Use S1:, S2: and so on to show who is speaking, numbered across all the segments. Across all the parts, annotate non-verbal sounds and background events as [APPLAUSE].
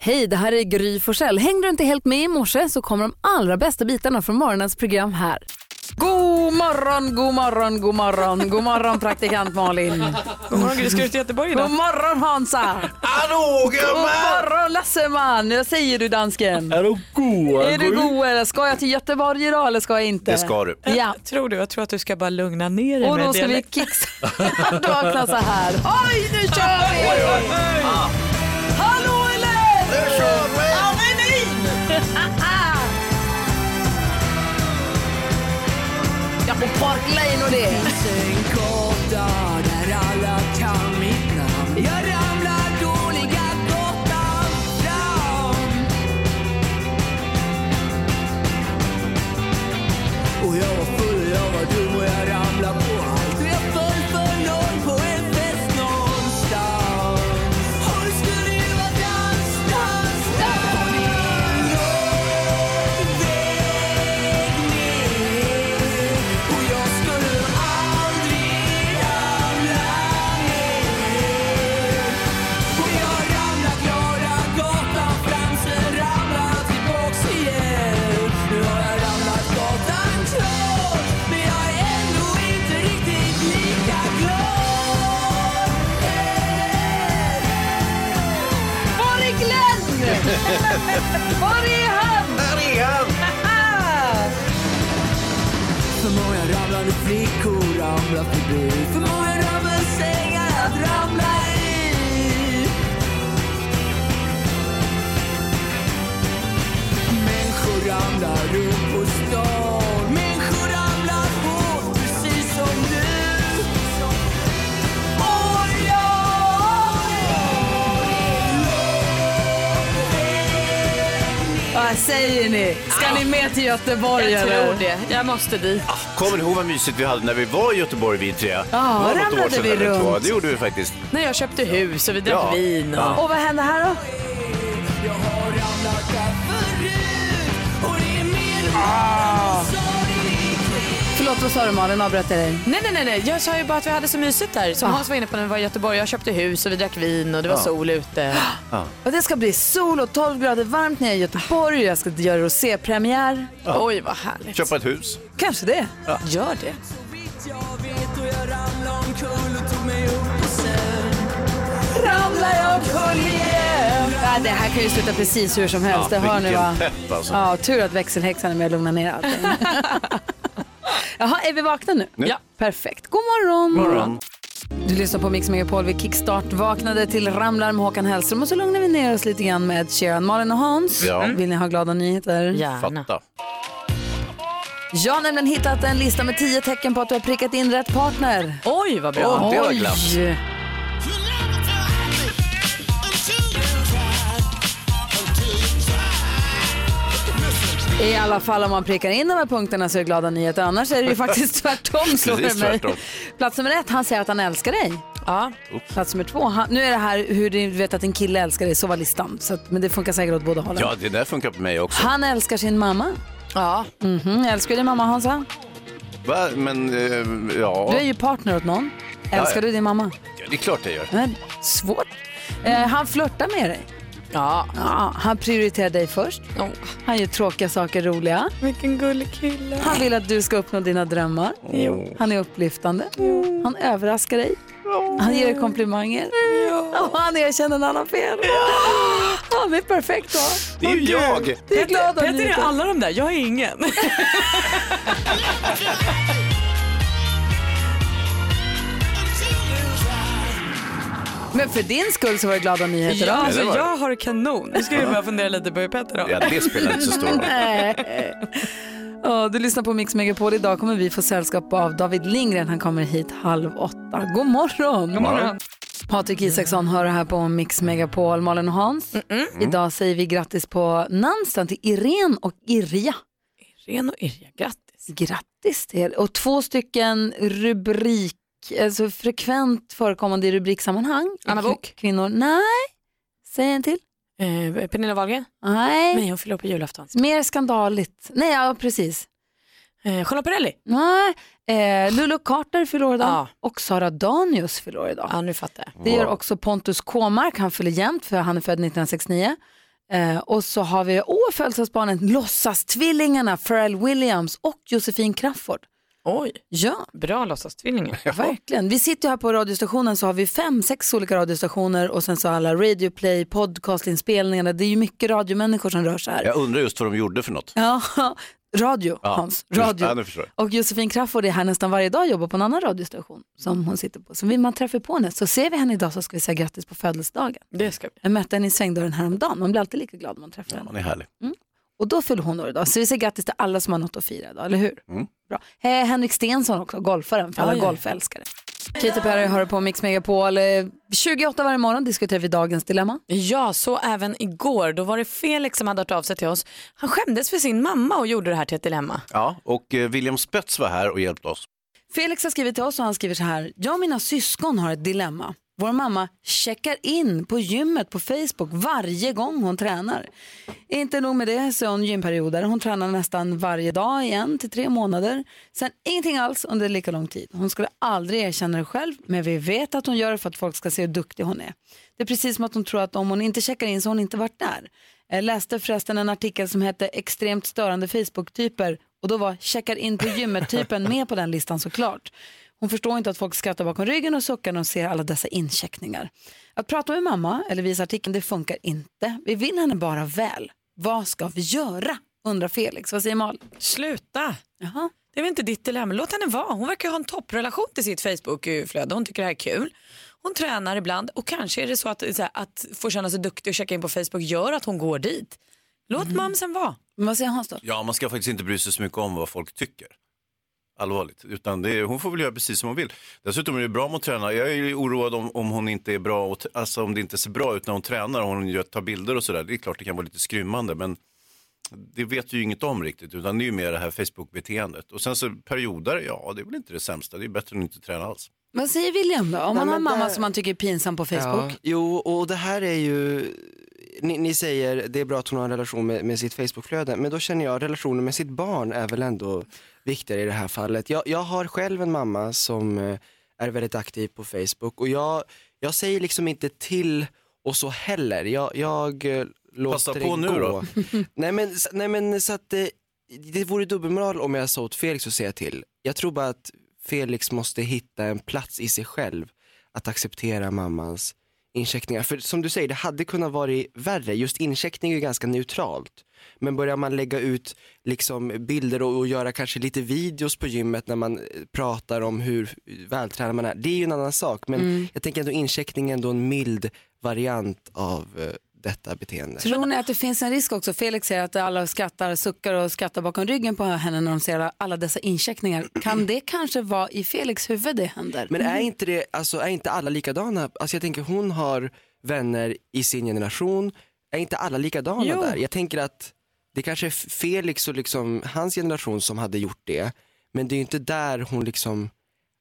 S1: Hej, det här är Gry Forssell. Hängde du inte helt med i morse så kommer de allra bästa bitarna från morgonens program här. God morgon, god morgon, god morgon, god morgon praktikant Malin.
S2: God morgon Gry, ska du till Göteborg
S1: God
S2: idag?
S1: morgon Hansa.
S3: Hallå
S1: God
S3: gubben!
S1: morgon Lasseman. Vad säger du dansken?
S3: Är du god?
S1: Är du god eller ska jag till Göteborg idag eller ska jag inte?
S3: Det ska du.
S1: Ja.
S2: Tror du? Jag tror att du ska bara lugna ner dig
S1: Och då
S2: med
S1: ska vi [LAUGHS]
S2: dialekt.
S1: kickstarta vakna så här. Oj, nu kör vi! Ja. Hallå eller?
S3: Nu kör vi!
S1: Ja, på Park Lane och det. Var är Glenn? Var är han?
S3: Där är han!
S4: För många ramlande flickor ramlar förbi För många rammelsängar att ramla i Människor ramlar runt på stan Människor ramlar hårt precis som du Och jag
S1: [LAUGHS] Vad säger ni? Ska ni med till Göteborg?
S2: Jag
S1: eller?
S2: tror det. Jag måste dit.
S3: Ah, Kommer ni ihåg vad mysigt vi hade när vi var i Göteborg vi tre? Ja,
S1: ramlade vi runt.
S3: Det gjorde vi faktiskt.
S2: När jag köpte hus och vi drack
S3: Ja.
S2: vin. Och...
S1: Och vad händer här då? Ah. Förlåt, vad sa du Malin? Avbröt jag dig?
S2: Nej, nej, nej, nej. Jag sa ju bara att vi hade så mysigt där. Som Hans var inne på när vi var i Göteborg. Jag köpte hus och vi drack vin och det var sol ute.
S1: Och det ska bli sol och 12 grader varmt nere i Göteborg. Jag ska göra rosépremiär.
S2: Oj, vad härligt.
S3: Köpa ett hus.
S1: Kanske det.
S2: Gör det.
S4: Jag vet och jag ramlade omkull och tog mig upp och sen
S1: Ramlar jag omkull igen? Ja, det här kan ju sluta precis hur som helst. det hör ni
S3: Vilken
S1: va?
S3: pepp alltså.
S1: Ja, tur att växelhäxan är med och lugnar ner
S3: [LAUGHS]
S1: allting. Jaha, är vi vakna nu?
S3: Nu. Ja.
S1: Perfekt. God morgon.
S3: Morgon.
S1: Du lyssnar på Mix Megapol. Vi kickstart vaknade till Ramlar med Håkan Hellström och så lugnar vi ner oss lite grann med Sharon, Malin och Hans. Mm.
S3: Ja.
S1: Vill ni ha glada nyheter?
S2: Gärna.
S3: Fatta.
S1: Jag har nämligen hittat en lista med tio tecken på att du har prickat in rätt partner.
S2: Oj, vad bra.
S3: Åh, det var glatt.
S1: I alla fall om man prickar in de här punkterna så är det glada nyheter. Annars är det ju
S3: [LAUGHS]
S1: faktiskt tvärtom slår det
S3: Precis
S1: mig.
S3: tvärtom.
S1: Plats nummer ett, han säger att han älskar dig.
S2: Ja.
S1: Plats nummer två, han, nu är det här hur du vet att en kille älskar dig, så var listan. Så att, men det funkar säkert åt båda hållen.
S3: Ja, det där funkar på mig också.
S1: Han älskar sin mamma.
S2: ja.
S1: Mhm, älskar du din mamma Hansa?
S3: Va? Men, eh, ja.
S1: Du är ju partner åt någon. Älskar
S3: Ja, ja.
S1: du din mamma?
S3: Ja, Det är klart jag gör.
S1: Men, svårt. Eh, han flörtar med dig.
S2: ja.
S1: Ja, han prioriterar dig först.
S2: Åh,
S1: Han gör tråkiga saker roliga.
S2: vilken gullig kille.
S1: Han vill att du ska uppnå dina drömmar. Han är upplyftande. Han överraskar dig. Han ger dig komplimanger. Och han erkänner när han har fel. Han är perfekt då.
S3: Det är ju jag!
S1: Det är glada
S2: Petter är
S1: nyheter.
S2: alla de där, jag är ingen.
S1: Men för din skull så var det glada
S2: [LAUGHS]
S1: nyheter då.
S2: alltså,
S3: det var det.
S2: jag har kanon. Nu ska vi bara fundera lite på hur Petter har.
S3: Ja, det spelar inte så stor roll.
S1: Nej. [LAUGHS] Ja, du lyssnar på Mix Megapol. Idag kommer vi få sällskap av David Lindgren. Han kommer hit halv åtta. God morgon! God
S3: morgon.
S1: Patrik Isaksson hör det här på Mix Megapol. Malin och Hans. Idag säger vi grattis på namnsdagen till Irene och Irja.
S2: Ren och Irja, grattis.
S1: Grattis till er. Och två stycken rubrik, alltså frekvent förekommande i rubriksammanhang.
S2: Anna Bok?
S1: Kvinnor. Nej, säg en till.
S2: Eh, Pernilla Wahlgren?
S1: Nej,
S2: Nej, hon fyller upp på julafton.
S1: mer skandaligt. Nej, ja precis.
S2: Eh, Charlotte Perrelli?
S1: Nej, eh, Lulu Carter fyller år idag
S2: Ja.
S1: och Sara Danius fyller år idag.
S2: Ja, nu fattar jag.
S1: Det gör också Pontus Kåmark, han fyller jämnt för han är född 1969. Eh, och så har vi åh, födelsedagsbarnen, låtsastvillingarna Pharrell Williams och Josefin Crafoord.
S5: Oj,
S1: Ja,
S5: bra låtsastvillingar.
S1: verkligen. Vi sitter ju här på radiostationen så har vi fem, sex olika radiostationer och sen så alla Radio Play, podcastinspelningarna. Det är ju mycket radiomänniskor som rör sig här.
S3: Jag undrar just vad de gjorde för något.
S1: Ja, [LAUGHS] radio
S3: Ja.
S1: Hans, radio.
S3: Ja, nu förstår jag.
S1: Och Josefin Crafoord är här nästan varje dag och jobbar på en annan radiostation som hon sitter på. Så vill man träffa på henne så ser vi henne idag så ska vi säga grattis på födelsedagen.
S5: Det ska vi.
S1: Jag mötte henne i svängdörren häromdagen, man blir alltid lika glad när man träffar henne.
S3: Han är härlig.
S1: Och då fyller hon år idag, så vi säger grattis till alla som har något att fira idag, eller hur? Bra. Eh, Henrik Stensson också, golfaren, för alla
S5: Oj.
S1: golfälskare. Katy Perry har det på Mix Megapol. Eh, 28 varje morgon diskuterar vi dagens dilemma.
S5: Ja, så även igår. Då var det Felix som hade hört av sig till oss. Han skämdes för sin mamma och gjorde det här till ett dilemma.
S3: Ja, och eh, William Spets var här och hjälpte oss.
S1: Felix har skrivit till oss och han skriver så här. Jag och mina syskon har ett dilemma. Vår mamma checkar in på gymmet på Facebook varje gång hon tränar. Inte nog med det så är hon gymperioder. Hon tränar nästan varje dag i en till tre månader. Sen ingenting alls under lika lång tid. Hon skulle aldrig erkänna det själv men vi vet att hon gör det för att folk ska se hur duktig hon är. Det är precis som att hon tror att om hon inte checkar in så har hon inte varit där. Jag läste förresten en artikel som hette Extremt störande Facebook-typer och då var checkar in på gymmet-typen med på den listan såklart. Hon förstår inte att folk skrattar bakom ryggen och suckar när de ser alla dessa incheckningar. Att prata med mamma eller visa artikeln, det funkar inte. Vi vill henne bara väl. Vad ska vi göra? Undrar Felix. Vad säger Malin?
S5: Sluta!
S1: Jaha.
S5: Det är väl inte ditt dilemma. Låt henne vara. Hon verkar ha en topprelation till sitt Facebook-flöde. Hon tycker det här är kul. Hon tränar ibland och kanske är det så att, så här, att få känna sig duktig och checka in på Facebook gör att hon går dit. Låt mamsen vara.
S1: Men vad säger Hans då?
S3: Ja, man ska faktiskt inte bry sig så mycket om vad folk tycker. Allvarligt. Utan det är, hon får väl göra precis som hon vill. Dessutom är det bra mot träna. Jag är ju oroad om, om hon inte är bra, och, alltså om det inte ser bra ut när hon tränar och hon gör, tar bilder och sådär. Det är klart det kan vara lite skrymmande, men det vet vi ju inget om riktigt, utan det är ju mer det här Facebook-beteendet. Och sen så perioder, ja det är väl inte det sämsta, det är bättre än att inte träna alls.
S1: Vad säger William då? Om man har en mamma som man tycker är pinsam på Facebook.
S6: Jo, och det här är ju, ni, ni säger det är bra att hon har en relation med, med sitt Facebookflöde, men då känner jag relationen med sitt barn är väl ändå viktigare i det här fallet. Jag, jag har själv en mamma som eh, är väldigt aktiv på Facebook och jag, jag säger liksom inte till och så heller. Jag, jag eh, låter
S3: Passa
S6: det
S3: på nu
S6: gå.
S3: då.
S6: [LAUGHS] nej, men, s- nej men så att eh, det vore dubbelmoral om jag sa åt Felix att säga till. Jag tror bara att Felix måste hitta en plats i sig själv att acceptera mammans incheckningar. För som du säger, det hade kunnat vara värre. Just incheckning är ju ganska neutralt. Men börjar man lägga ut liksom bilder och, och göra kanske lite videos på gymmet när man eh, pratar om hur vältränad man är, det är ju en annan sak. Men jag tänker ändå incheckning är ändå en mild variant av eh, detta beteende.
S1: Tror ni att det finns en risk också? Felix säger att alla skrattar, suckar och skrattar bakom ryggen på henne när de ser alla- alla dessa incheckningar. Kan det kanske vara i Felix huvud det händer?
S6: Men är inte, det, alltså, är inte alla likadana? Alltså, jag tänker hon har vänner i sin generation, är inte alla likadana
S5: Jo.
S6: där? Jag tänker att det kanske är Felix och liksom, hans generation som hade gjort det, men det är ju inte där hon liksom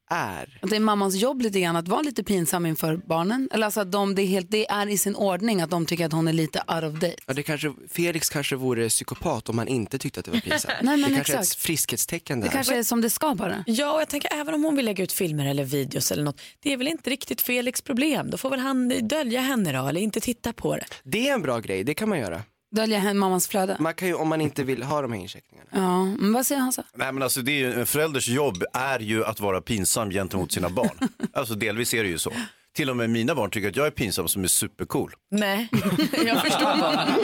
S6: är.
S1: Att det är mammans jobb lite grann att vara lite pinsam inför barnen? Eller alltså att de, det, är helt, det är i sin ordning att de tycker att hon är lite out of date?
S6: Ja, det kanske, Felix kanske vore psykopat om han inte tyckte att det var pinsamt.
S1: [LAUGHS] Nej, men
S6: det kanske är
S1: exakt.
S6: ett friskhetstecken där.
S1: Det kanske är som det ska bara.
S5: Ja, och jag tänker även om hon vill lägga ut filmer eller videos eller något, det är väl inte riktigt Felix problem. Då får väl han dölja henne då, eller inte titta på det.
S6: Det är en bra grej, det kan man göra.
S1: Dölja hen mammans flöde.
S6: Man kan ju, om man inte vill ha de här incheckningarna.
S1: Ja, men vad säger han så?
S3: Nej men alltså det är ju, en förälders jobb är ju att vara pinsam gentemot sina barn. Alltså delvis är det ju så. Till och med mina barn tycker att jag är pinsam som är supercool.
S5: Nej, [LAUGHS] jag förstår bara.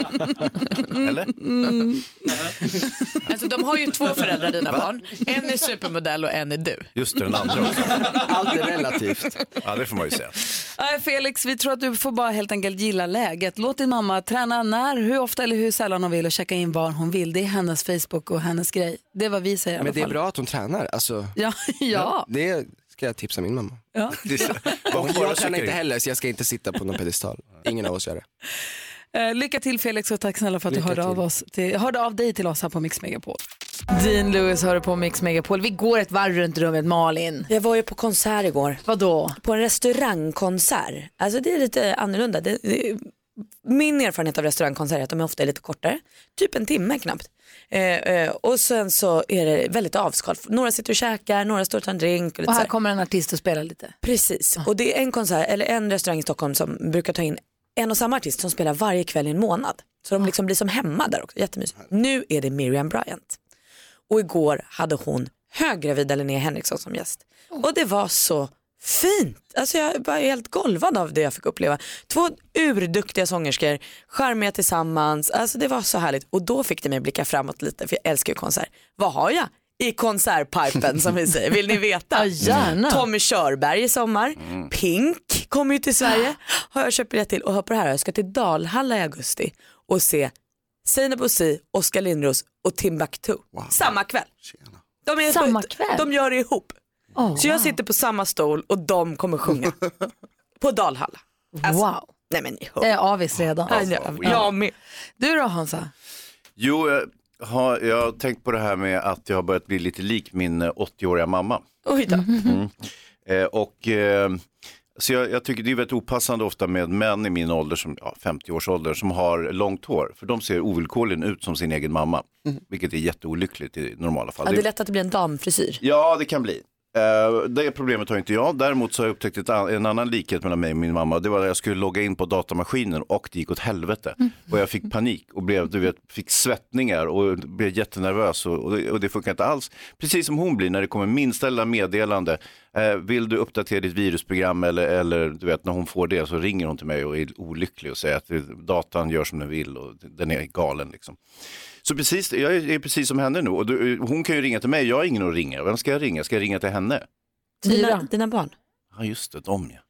S3: Eller?
S5: Alltså, de har ju två föräldrar, dina barn. En är supermodell och en är du.
S3: Just det, den andra också.
S6: Allt är relativt.
S3: Ja det får man ju säga.
S1: Nej, Felix, vi tror att du får bara helt enkelt gilla läget. Låt din mamma träna när, hur ofta eller hur sällan hon vill och checka in var hon vill. Det är hennes Facebook och hennes grej. Det är vad vi säger i alla
S6: Men det är
S1: fall.
S6: bra att hon tränar, alltså.
S1: [LAUGHS] Ja, ja.
S6: Det ska jag tipsa min mamma.
S3: Det är så-
S6: Och
S3: Hon bara
S6: jag tränar
S3: checkar
S6: inte
S3: in.
S6: heller så jag ska inte sitta på någon pedestal. Ingen av oss gör det.
S1: Eh, lycka till Felix och tack snälla för att
S6: Lycka
S1: du hörde
S6: till.
S1: av, oss till, hörde av dig till oss här på Mix Megapol. Dean Lewis hör på Mix Megapol. Vi går ett varv runt rummet. Malin,
S2: Jag var ju på konsert igår,
S1: vadå?
S2: på en restaurangkonsert. Alltså det är lite annorlunda. Det, det, min erfarenhet av restaurangkonserter är att de ofta är lite kortare, typ en timme knappt. Eh, eh, och sen så är det väldigt avskal. Några sitter och käkar, några står och tar en drink. Och lite
S1: Och
S2: så
S1: här
S2: här.
S1: kommer en artist och spelar lite.
S2: Precis, och det är en konsert, eller en restaurang i Stockholm som brukar ta in en och samma artist som spelar varje kväll i en månad. Så de liksom blir som hemma där också, jättemysigt. Nu är det Miriam Bryant. Och igår hade hon höggravida Linnea Henriksson som gäst. Och det var så fint. Alltså jag var helt golvad av det jag fick uppleva. Två urduktiga sångerskor, charmiga tillsammans. Alltså det var så härligt. Och då fick det mig att blicka framåt lite, för jag älskar ju konsert. Vad har jag? I konsertpipen som vi säger. Vill ni veta?
S1: [LAUGHS] Ja, gärna.
S2: Tommy Körberg i sommar.
S7: Mm.
S2: Pink kommer ju
S7: [GASPS]
S2: till Sverige. Har jag köpt biljett till. Och hör på det här, jag ska till Dalhalla i augusti och se Seinabo Bosi, Oskar Lindros och Timbuktu. Samma kväll. De, är
S1: Samma kväll?
S2: de gör det ihop.
S1: Åh,
S2: Så jag sitter på samma stol och de kommer sjunga.
S7: [LAUGHS]
S2: på Dalhalla.
S1: wow.
S2: Nej men ni
S1: Jag
S2: hör.
S1: är avis redan.
S2: Eh, Nej, jag-
S7: Alltså,
S2: Jag med.
S1: Du då Hansa?
S3: Jo, jag har, jag har tänkt på det här med att jag har börjat bli lite lik min eh, 80-åriga mamma.
S2: Oj då.
S3: Eh, och, eh, så jag, jag tycker det är väldigt opassande ofta med män i min ålder, som, ja, 50-årsålder, som har långt hår. För de ser ovillkorligen ut som sin egen mamma,
S6: Mm.
S3: vilket är jätteolyckligt i normala fall.
S2: Ja,
S3: Det-
S2: det är lätt att det blir en damfrisyr.
S3: Ja, det kan bli. Eh, Det problemet har inte jag. Däremot så har jag upptäckt ett an- en annan likhet mellan mig och min mamma. Det var när jag skulle logga in på datamaskinen och det gick åt helvete. Och jag fick panik och blev, du vet, fick svettningar och blev jättenervös och, och, det, och det funkar inte alls. Precis som hon blir när det kommer minsta lilla meddelande. Eh, vill du uppdatera ditt virusprogram eller, eller du vet, när hon får det så ringer hon till mig och är olycklig och säger att eh, datan gör som den vill och den är galen liksom. Så precis, jag är precis som henne nu och du, hon kan ju ringa till mig, jag har ingen att ringa. Vem ska jag ringa? Ska jag ringa till henne?
S2: Dina,
S1: Tyra.
S2: dina barn.
S3: Ja just det, dem ja.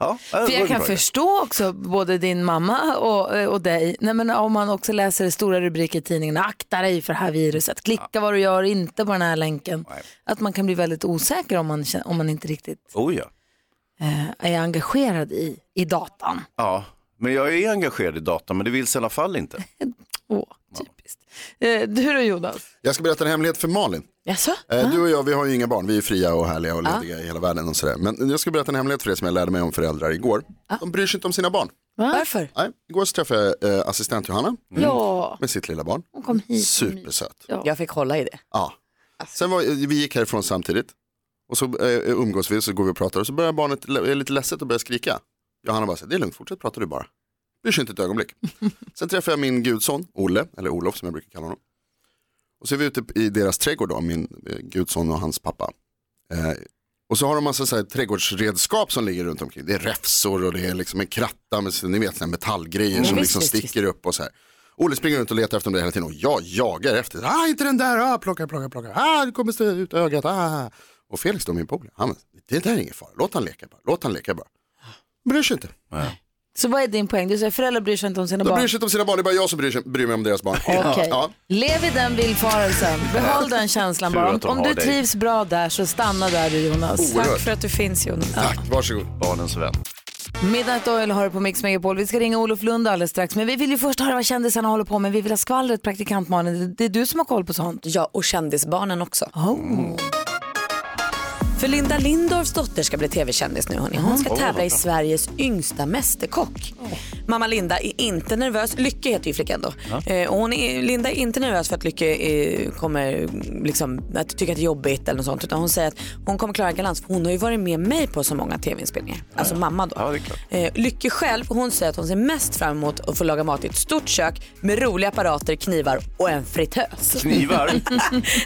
S3: Ja, det
S1: För
S3: var en
S1: jag kan
S3: bra idé.
S1: förstå också både din mamma och, och dig. Nej, men om man också läser stora rubriker i tidningen, akta dig för det här viruset, klicka vad du gör, inte på den här länken.
S3: Nej.
S1: Att man kan bli väldigt osäker om man, känner- om man inte riktigt
S3: Oh, ja.
S1: eh, är engagerad i, i datan.
S3: ja, men jag är engagerad i data men det vill i alla fall inte.
S1: Åh, typiskt. Eh, du då Jonas?
S7: Jag ska berätta en hemlighet för Malin.
S2: Jaså?
S1: Ah.
S7: Eh, Du och jag, vi har ju inga barn, vi är fria och härliga och lediga i hela världen och sådär. Men jag ska berätta en hemlighet för er som jag lärde mig om föräldrar igår.
S1: Ah.
S7: De bryr sig inte om sina barn.
S2: Varför?
S7: Nej, igår så träffade jag eh, assistent Johanna Mm.
S1: Ja,
S7: med sitt lilla barn.
S1: hon kom hit.
S7: Supersöt.
S2: Jag fick hålla i det.
S7: Ja. Sen var, vi gick härifrån samtidigt och så eh, umgås vi och så går vi och pratar och så börjar barnet, le- är lite ledset och börjar skrika. Johanna bara, säger, det är lugnt, fortsätt prata du bara. Bryr sig inte ett ögonblick. Sen träffar jag min gudson, Olle, eller Olof som jag brukar kalla honom. Och så är vi ute i deras trädgård då, min eh, gudson och hans pappa. Eh, och så har de massa så här trädgårdsredskap som ligger runt omkring. Det är räfsor och det är liksom en kratta med så- ni vet, såna här metallgrejer som
S2: Mm, visst,
S7: liksom
S2: visst,
S7: sticker upp och så här. Olle springer runt och letar efter dem där hela tiden och jag jagar efter. Ah, inte den där, ah, plocka, plocka, plocka. Ah, det kommer stå ut ögat. Ah. Och Felix då, min polare, han bara, det där är ingen fara, låt han leka bara, låt han leka bara. Bryr sig inte.
S1: Så vad är din poäng? Du säger föräldrar bryr sig inte om sina
S7: De
S1: barn.
S7: bryr sig inte om sina barn, det är bara jag som bryr, sig, bryr mig om
S2: [LAUGHS]
S7: deras barn.
S1: Okej.
S7: Ja.
S1: Lev i den villfarelsen. Behåll den känslan
S3: Tur
S1: bara. Om,
S3: att de
S1: om
S3: har
S1: du
S3: dig.
S1: trivs bra där så stanna där du Jonas.
S7: Oerhört.
S2: Tack för att du finns Jonas.
S7: Tack, varsågod.
S3: Barnens vän.
S1: Midnight Oil har du på Mix Megapol. Vi ska ringa Olof Lund alldeles strax. Men vi vill ju först höra vad kändisarna håller på med. Vi vill ha skvallret, praktikant Malin. Det- Det är du som har koll på sånt.
S2: Ja, och kändisbarnen också.
S1: Oh.
S2: För Linda Lindorffs dotter ska bli tv-kändis nu. Hörni. Hon
S3: Mm.
S2: ska tävla i
S3: Oh.
S2: Sveriges yngsta mästerkock. Mamma Linda är inte nervös. Lycke heter ju flickan då. Eh, och hon är, Linda är inte nervös för att Lycke eh, kommer liksom, att tycka att det är jobbigt eller något sånt. Utan hon säger att hon kommer klara galans för hon har ju varit med mig på så många tv-inspelningar. Alltså mamma då.
S3: Ja, det är klart.
S2: Eh, Lycke själv, hon säger att hon ser mest fram emot att få laga mat i ett stort kök med roliga apparater, knivar och en fritös.
S1: [LAUGHS]
S3: Knivar.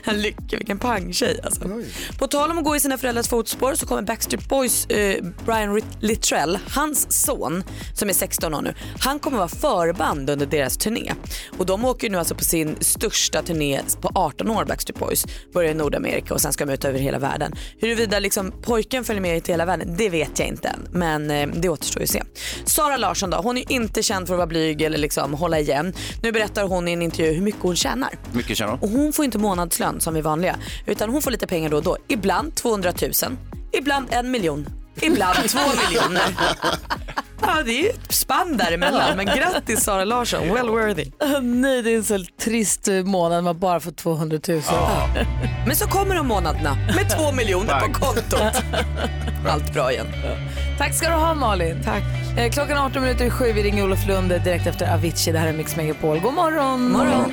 S2: [LAUGHS] Han Lycke, vilken pangtjej alltså. På tal om att gå i sina föräldrars fotspår så kommer Backstreet Boys eh, Brian Rit- Littrell, hans son som är 16 år nu, han kommer vara förband under deras turné. Och de åker ju nu alltså på sin största turné på 18 år Backstreet Boys. Börjar i Nordamerika och sen ska de ut över hela världen. Huruvida liksom pojken följer med till hela världen, det vet jag inte än. Men eh, det återstår ju att se. Sara Larsson då, hon är ju inte känd för att vara blyg eller liksom hålla igen. Nu berättar hon i en intervju hur mycket hon tjänar.
S3: Mycket tjänar
S2: Och hon får inte månadslön som vi vanliga utan hon får lite pengar då och då. Ibland 200 000, ibland en miljon, ibland två miljoner. Ja, det är ju ett spann däremellan. Men grattis Sara Larsson, well worthy.
S1: Nej, det är en så trist eh, månad. Man bara får 200 000.
S2: Men så kommer de månaderna med två miljoner på kontot. Allt bra igen.
S1: Tack ska du ha Malin. Tack. Eh, klockan är 18 minuter i sju. Vi ringer Olof Lund direkt efter Avicii. Det här är Mix Megapol. God morgon. morgon.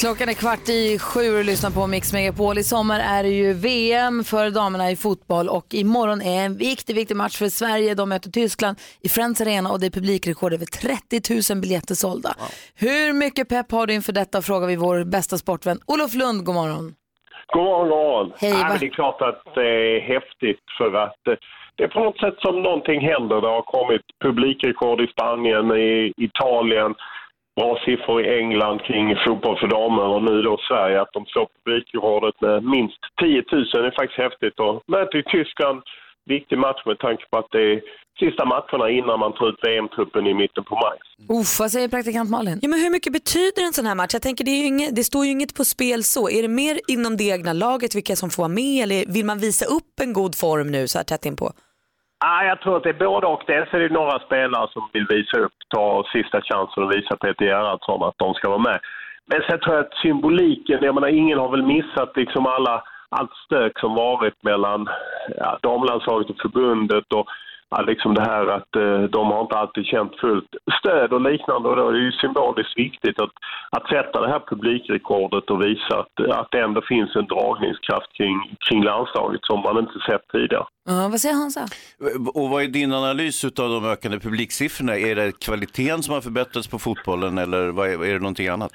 S1: Klockan är kvart i sju och lyssnar på Mix Megapol. I sommar är det ju VM för damerna i fotboll och imorgon är en viktig, viktig match för Sverige. De möter Tyskland i Friends Arena och det är publikrekord över 30 000 biljetter sålda. Hur mycket pepp har du inför detta frågar vi vår bästa sportvän Olof Lund, god morgon.
S8: God morgon, god morgon.
S1: Hej,
S8: ja,
S1: va-
S8: men det är klart att det är häftigt för att eh, det är på något sätt som någonting händer. Det har kommit publikrekord i Spanien, i Italien, bra siffror i England kring fotboll för damer och nu då Sverige att de slår publikrekordet med minst 10 000. Det är faktiskt häftigt. Och möte i Tyskland, viktig match med tanke på att det är sista matcherna innan man tar ut VM-truppen i mitten på maj.
S1: Uff, vad säger praktikant Malin?
S2: Ja, men hur mycket betyder en sån här match? Jag tänker det, är ju inget, det står ju inget på spel så. Är det mer inom det egna laget vilka som får vara med eller vill man visa upp en god form nu så här tätt inpå?
S8: Ja, jag tror att det är både och. Dels är det några spelare som vill visa upp, ta sista chansen och visa Peter Gerhardsson att de ska vara med. Men sen tror jag att symboliken, jag menar ingen har väl missat liksom alla, allt stök som varit mellan ja, damlandslaget och förbundet och ja, liksom det här att eh, de har inte alltid känt fullt stöd och liknande och då är det ju symboliskt viktigt att, att sätta det här publikrekordet och visa att, att det ändå finns en dragningskraft kring, kring landslaget som man inte sett tidigare.
S1: Ja, vad säger Hansa?
S3: Och vad är din analys av de ökande publiksiffrorna? Är det kvaliteten som har förbättrats på fotbollen eller vad är, är det någonting annat?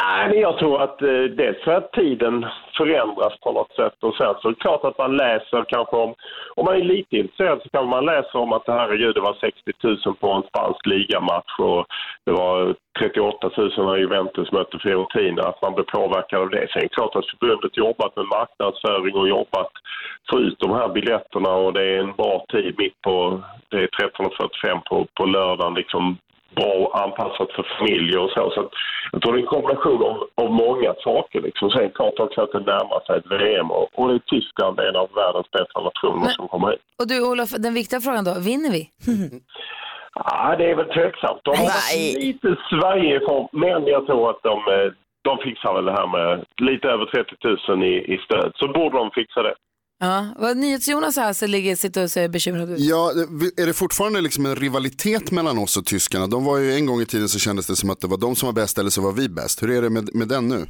S8: Nej, men jag tror att eh, dels för att tiden förändras på något sätt och sen så är det klart att man läser kanske om, om man är lite intresserad så kan man läsa om att det här är det var 60 000 på en spansk ligamatch och det var 38 000 när Juventus mötte Fiorentina, att man blev påverkad av det. Sen är det klart att förbundet jobbat med marknadsföring och jobbat få ut de här biljetterna och det är en bra tid mitt på, det är 13.45 på, på lördagen liksom bra anpassat för familjer och så. så att, jag tror det är en kombination av, av många saker. Liksom. Sen är det klart också att det närmar sig ett VM och, och det är Tyskland, en av världens bästa nationer
S1: Men-
S8: som kommer hit.
S1: Och du Olof, den viktiga frågan då, vinner vi?
S8: Ja, Ah, det är väl tveksamt. De har varit lite Sverige ifrån, men jag tror att de, eh, de fixar väl det här med lite över 30 000 i, i stöd, så borde de fixa det.
S1: Ja, vad NyhetsJonas här så ligger, sitter och ser bekymrad ut.
S7: Ja, är det fortfarande liksom en rivalitet mellan oss och tyskarna? De var ju en gång i tiden så kändes det som att det var de som var bäst eller så var vi bäst. Hur är det med, med den nu?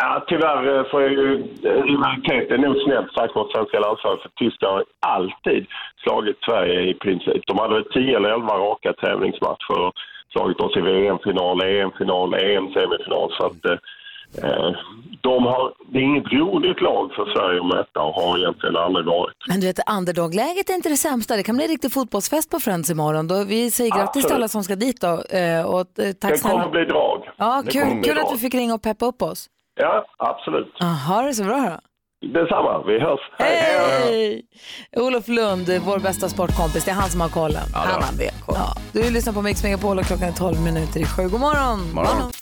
S8: Ja, tyvärr eh, får jag ju eh, rivalitet är nog snällt sagt mot svenska landslaget för Tyskland har alltid slagit Sverige i princip. De hade väl 10 eller 11 raka tävlingsmatcher och slagit oss i VM-final, EM-final, EM-semifinal. Så att, eh, eh, de har, det är inget roligt lag för Sverige att möta och har egentligen aldrig varit.
S1: Men du vet, underdog-läget är inte det sämsta. Det kan bli en riktig fotbollsfest på Friends imorgon. Då vi säger grattis
S8: Absolut.
S1: till alla som ska dit då. eh, Och eh, tack
S8: Det kommer
S1: snälla.
S8: bli drag.
S1: Ja,
S8: Det kommer
S1: kul,
S8: bli
S1: kul
S8: drag.
S1: att du fick ringa och peppa upp oss.
S8: Ja, absolut.
S1: Jaha, det är så bra då.
S8: Detsamma, vi hörs.
S1: Hej! Olof Lund, vår bästa sportkompis. Det är han som har kollen.
S2: Han har BK.
S1: Ja, du lyssnar på Mix Megapol och klockan är 12 minuter i sju. God morgon!
S3: Morgon.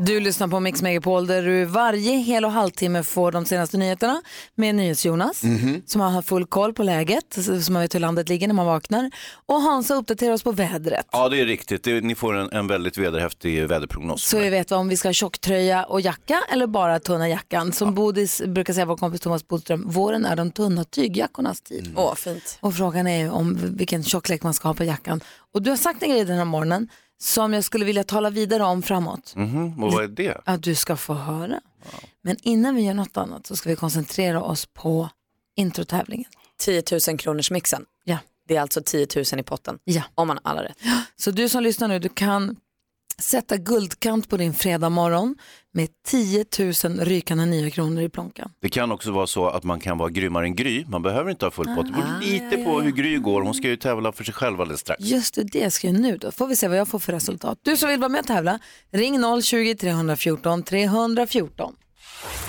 S1: Du lyssnar på Mix Megapol där du varje hel och halvtimme får de senaste nyheterna med NyhetsJonas som har full koll på läget, som man vet hur landet ligger när man vaknar. Och Hansa uppdaterar oss på vädret.
S3: Ja, det är riktigt. Det, ni får en, en väldigt vederhäftig väderprognos.
S2: Alltså,
S1: Så vi vet om vi ska ha tjocktröja och jacka eller bara tunna jackan. Som Bodis brukar säga, vår kompis Thomas Bodström, våren är de tunna tygjackornas tid.
S2: Mm. Åh, fint.
S1: Och frågan är ju om vilken tjocklek man ska ha på jackan. Och du har sagt en grej den här morgonen som jag skulle vilja tala vidare om framåt.
S3: Mhm, Och vad är det?
S1: Att du ska få höra. Men innan vi gör något annat så ska vi koncentrera oss på introtävlingen.
S2: 10 000 kronors mixen.
S1: Ja.
S2: Det är alltså 10 000 i potten.
S1: Ja.
S2: Om man har alla rätt.
S1: Så du som lyssnar nu, du kan sätta guldkant på din fredag morgon med 10 000 rykande nya kronor i plånkan.
S3: Det kan också vara så att man kan vara grymmare än Gry. Man behöver inte ha full pott. Det
S1: Ah,
S3: beror lite på hur Gry går. Hon ska ju tävla för sig själv alldeles strax.
S1: Just det, det ska jag nu då. Får vi se vad jag får för resultat. Du som vill vara med och tävla, ring 020-314 314.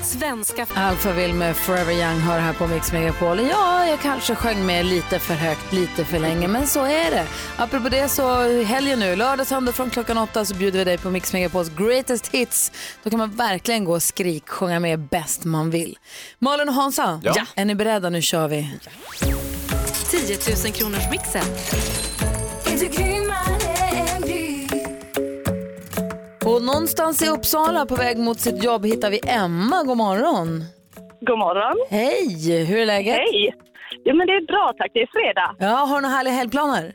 S9: Svenska f-
S1: Alpha Will med Forever Young hör här på Mix Megapol. Ja, jag kanske sjöng med lite för högt, lite för länge, men så är det. Apropå det så helgen nu, lördag, söndag från klockan åtta så bjuder vi dig på Mix Megapols greatest hits. Då kan man verkligen gå och skrik, sjunga med bäst man vill. Malin och Hansa,
S3: Ja.
S1: är ni beredda? Nu kör vi.
S9: 10 000 kronors mixen.
S1: Och någonstans i Uppsala på väg mot sitt jobb hittar vi Emma. God morgon.
S10: God morgon.
S1: Hej, hur är läget?
S10: Hej! Jo, men det är bra tack. Det är fredag.
S1: Ja, har du några härliga helgplaner?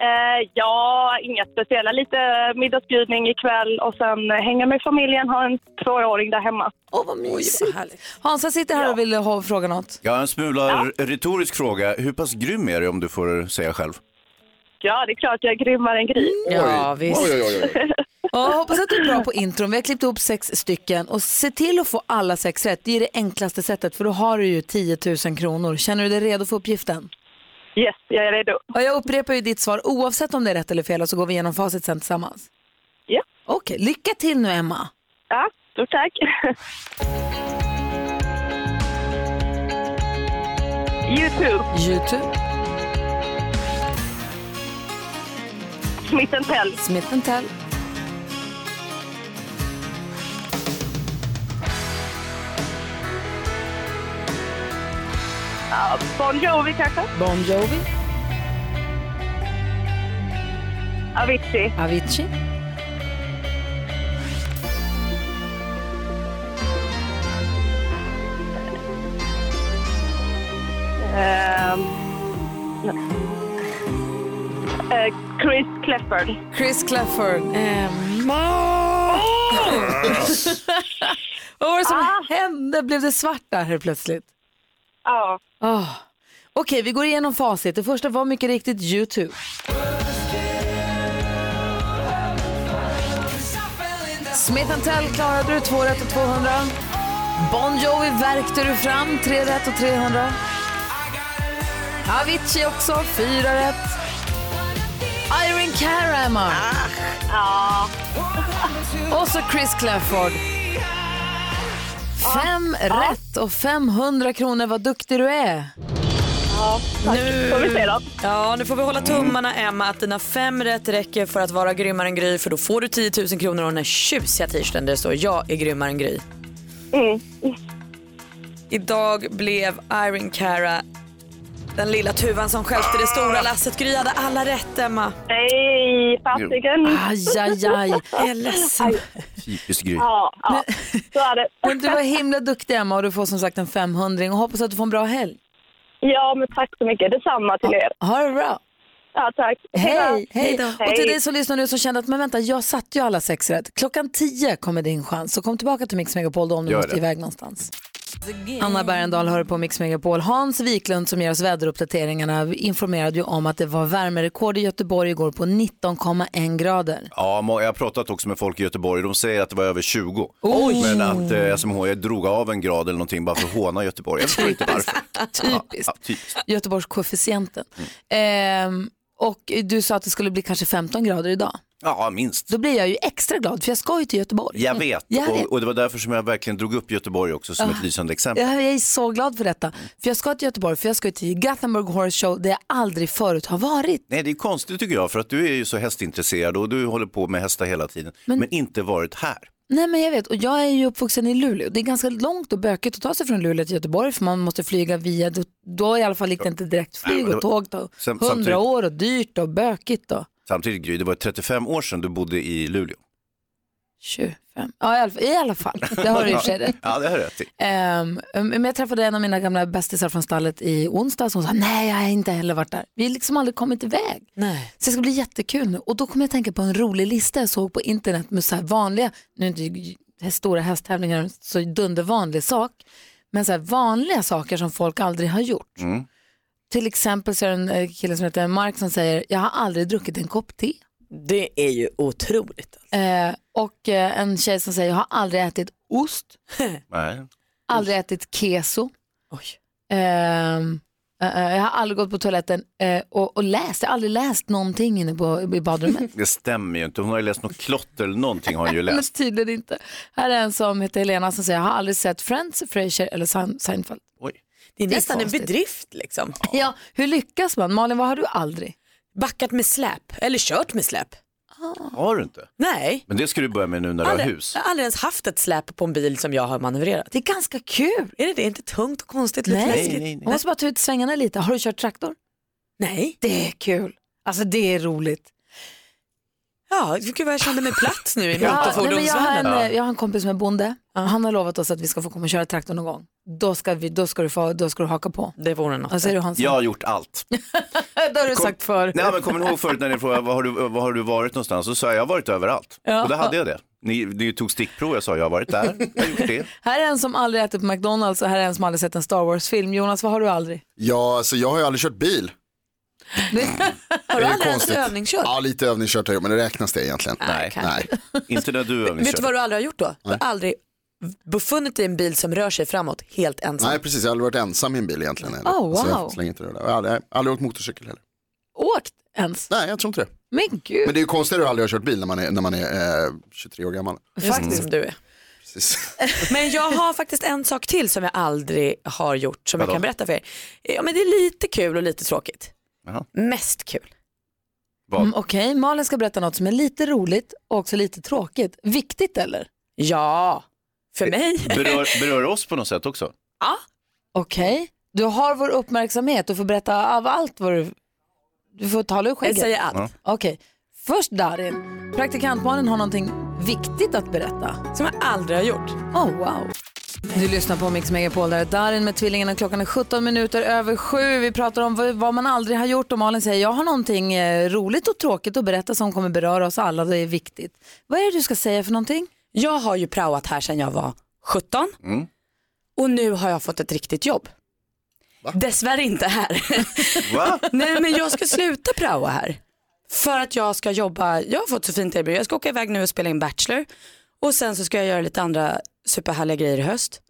S10: Eh, ja, inga speciella. Lite middagsbjudning ikväll och sen eh, hänga med familjen, ha en tvååring där hemma.
S1: Åh, vad mysigt. Hansa sitter här och vill ha, fråga något.
S3: Jag har en smula r- retorisk fråga. Hur pass grym är du om du får säga själv?
S10: Ja, det är klart jag är grymmare än Gry.
S1: Ja, visst.
S3: Oj, oj, oj,
S1: Ja, jag hoppas att du är bra på intron. Vi har klippt ihop sex stycken och se till att få alla sex rätt. Det är det enklaste sättet för då har du ju 10 000 kronor. Känner du dig redo för uppgiften?
S10: Yes, jag är redo.
S1: Och jag upprepar ju ditt svar oavsett om det är rätt eller fel och så går vi igenom facit sen tillsammans.
S10: Ja.
S1: Okej, lycka till nu Emma.
S10: Ja, stort tack. Youtube,
S1: Youtube,
S10: Smith Tell,
S1: Smith Tell,
S10: ja, Bon Jovi kanske?
S1: Bon Jovi,
S10: Avicii,
S1: Avicii,
S10: ehm, eh, Chris Clefford.
S1: Chris Clafford. [LAUGHS] Vad var det som hände? Blev det svart där helt plötsligt?
S10: Ja.
S1: Oh. Okej, vi går igenom facit. Det första var mycket riktigt Youtube. Smith Tell klarade du, 2 rätt och 200. Bon Jovi värkte du fram, 3 rätt och 300. Avicii också, 4 rätt. Irene Cara, Emma. Och så Chris Clafford. Fem rätt och 500 kronor. Vad duktig du är.
S10: Får vi se då.
S5: Ja, nu får vi hålla tummarna Emma att dina fem rätt räcker för att vara grymmare än Gry för då får du 10 000 kronor och den här tjusiga t-shirten där det står jag är grymmare än Gry.
S10: Mm.
S5: Idag blev Irene Cara den lilla tuvan som stjälpte det
S2: Ah.
S5: stora lasset. Gry hade alla rätt Emma.
S10: Nej, fasiken.
S1: Aj, aj, aj.
S5: Jag är ledsen.
S3: Typiskt Gry.
S10: Ja, ja. så är det.
S1: Men du var himla duktig Emma och du får som sagt en 500 och hoppas att du får en bra helg.
S10: Ja, men tack så mycket. Detsamma till er.
S1: Ha det bra.
S10: Ja, tack.
S1: Hej, hej. Och till
S10: Hej.
S1: dig som lyssnar nu som kände att men vänta, jag satte ju alla sex rätt. Klockan 10 kommer din chans. Så kom tillbaka till Mix Megapol då om du
S3: Gör
S1: måste
S3: det.
S1: iväg någonstans. Anna Bergendahl hör på Mix Megapol. Hans Wiklund som ger oss väderuppdateringarna informerade ju om att det var värmerekord i Göteborg igår på 19,1 grader.
S3: Ja, må- jag har pratat också med folk i Göteborg. De säger att det var över 20. Men att eh, SMHI drog av en grad eller någonting bara för att håna Göteborg. Jag förstår inte varför.
S1: Typiskt.
S3: Ja, typiskt.
S1: Göteborgskoefficienten.
S3: Mm.
S1: Ehm, och du sa att det skulle bli kanske 15 grader idag.
S3: Ja, minst.
S1: Då blir jag ju extra glad för jag ska ju till Göteborg.
S3: Jag vet.
S1: Jag vet. Ah.
S3: Och, och det var därför som jag verkligen drog upp Göteborg också som ett lysande exempel.
S1: Jag, jag är så glad för detta. För jag ska till Göteborg, för jag ska till Gothenburg Horse Show där jag aldrig förut har varit.
S3: Nej, det är konstigt tycker jag, för att du är ju så hästintresserad och du håller på med hästar hela tiden, men, inte varit här.
S1: Nej men jag vet, och jag är ju uppvuxen i Luleå. Det är ganska långt och bökigt att ta sig från Luleå till Göteborg för man måste flyga via, då, då i alla fall gick det inte direkt
S3: Nej,
S1: flyg
S3: men
S1: och
S3: det var-
S1: tåg då.
S3: Sam-
S1: 100
S3: samtidigt-
S1: år och dyrt och bökigt och
S3: Samtidigt Gry, det var 35 år sedan du bodde i Luleå.
S1: 25. Ja i alla, fall- i alla fall, det har du i och för sig rätt.
S3: Ja, det har du rätt i.
S1: Ehm, men jag träffade en av mina gamla bästisar från stallet i onsdags och hon sa nej jag har inte heller varit där. Vi har liksom aldrig kommit iväg.
S2: Nej.
S1: Så det ska bli jättekul nu. Och då kommer jag att tänka på en rolig lista jag såg på internet med så här vanliga, nu är inte ju- här stora hästtävlingar en så dundervanlig sak, men så här vanliga saker som folk aldrig har gjort. Till exempel så är det en eh, kille som heter Mark som säger jag har aldrig druckit en kopp te.
S2: Det är ju otroligt.
S1: Eh, och eh, en tjej som säger jag har aldrig ätit ost,
S3: Nej.
S1: aldrig ätit keso.
S2: Oj.
S1: Ehm, eh, eh, jag har aldrig gått på toaletten eh, och, och läst, jag har aldrig läst någonting inne på, i badrummet.
S3: Det stämmer ju inte, hon har ju läst något klotter eller någonting har hon ju [LAUGHS]
S1: Men
S3: läst.
S1: tydligen inte. Här är en som heter Helena som säger, jag har aldrig sett Friends, Frasier eller Sein- Seinfeld.
S3: Oj.
S2: Det är
S1: Det är
S2: nästan en
S1: konstigt.
S2: bedrift liksom.
S1: Ja, hur lyckas man? Malin, vad har du aldrig?
S2: Backat med släp, eller kört med släp.
S3: Har du inte?
S2: Nej,
S3: Men det ska du börja med nu när du har
S2: aldrig,
S3: hus.
S2: jag har aldrig ens haft ett släp på en bil som jag har manövrerat.
S1: Det är ganska kul.
S2: Är det det? Inte tungt och konstigt? Lite
S1: Nej.
S2: läskigt?
S3: nej,
S1: Man måste bara ta ut svängarna lite. Har du kört traktor?
S2: Nej.
S1: Det är kul. Alltså det är roligt.
S2: Ja, gud vad jag kände mig platt nu i
S1: Ja, nej, men jag, har en, eh,
S2: motorfordonsvärlden.
S1: jag har en kompis som är bonde. Han har lovat oss att vi ska få komma och köra traktor någon gång. Då ska, vi, då ska, du, få, då ska du haka på.
S2: Det vore något.
S1: Vad säger du Hans?
S3: Jag har gjort allt.
S1: det har du sagt förr.
S3: Nej, men kommer ni ihåg förut när ni frågade var har du, var har du varit någonstans? Så sa jag, jag har varit överallt.
S1: Ja.
S3: Och då hade jag det. Ni, ni tog stickprov, jag sa jag har varit där, jag har gjort det.
S1: Här är en som aldrig ätit på McDonalds och här är en som aldrig sett en Star Wars-film. Jonas, vad har du aldrig?
S7: Ja, alltså jag har ju aldrig kört bil. Mm.
S1: Har
S7: ju
S1: du aldrig
S7: konstigt.
S1: ens övningskört?
S7: Ja, lite övningskört har jag gjort, men det räknas det egentligen? Nej, nej.
S3: Inte när du
S2: Vet du vad du aldrig har gjort då? Du har aldrig befunnit dig i en bil som rör sig framåt helt ensam.
S7: Nej, precis. Jag har aldrig varit ensam i en bil egentligen. heller.
S2: Oh,
S7: Alltså,
S2: wow.
S7: jag slänger inte det där. Jag har aldrig, jag har aldrig åkt motorcykel heller.
S1: Åkt ens?
S7: Nej, jag tror inte det.
S1: Men gud.
S7: Men det är ju konstigt att du aldrig har kört bil när man är, när man är eh, 23 år gammal.
S2: Faktiskt. Mm. Som du är.
S7: Precis.
S2: Men jag har faktiskt en sak till som jag aldrig har gjort som jag
S7: Vadå?
S2: kan berätta för er. Ja, men det är lite kul och lite tråkigt.
S3: Jaha.
S2: Mest kul.
S1: Mm, Okej, Malin ska berätta något som är lite roligt och också lite tråkigt. Viktigt eller?
S2: Ja, för mig.
S3: Berör, berör oss på något sätt också.
S1: Okej, du har vår uppmärksamhet. Du får berätta av allt vad du... Du får tala ur skägget.
S2: Jag säger allt. Ja.
S1: Okej, först Darin. Praktikantmannen har någonting viktigt att berätta.
S2: Som jag aldrig har gjort.
S1: Oh, wow. Du lyssnar på Mix Megapol, där är Darin med tvillingarna. Klockan är 17 minuter över sju. Vi pratar om vad- vad man aldrig har gjort och Malin säger jag har någonting eh, roligt och tråkigt att berätta som kommer beröra oss alla. Det är viktigt. Vad är det du ska säga för någonting?
S2: Jag har ju praoat här sedan jag var 17 och nu har jag fått ett riktigt jobb. Dessvärre inte här. Nej men jag ska sluta praoa här. För att jag ska jobba, jag har fått så fint erbjudande. Jag ska åka iväg nu och spela in Bachelor och sen så ska jag göra lite andra superhärliga grejer i höst.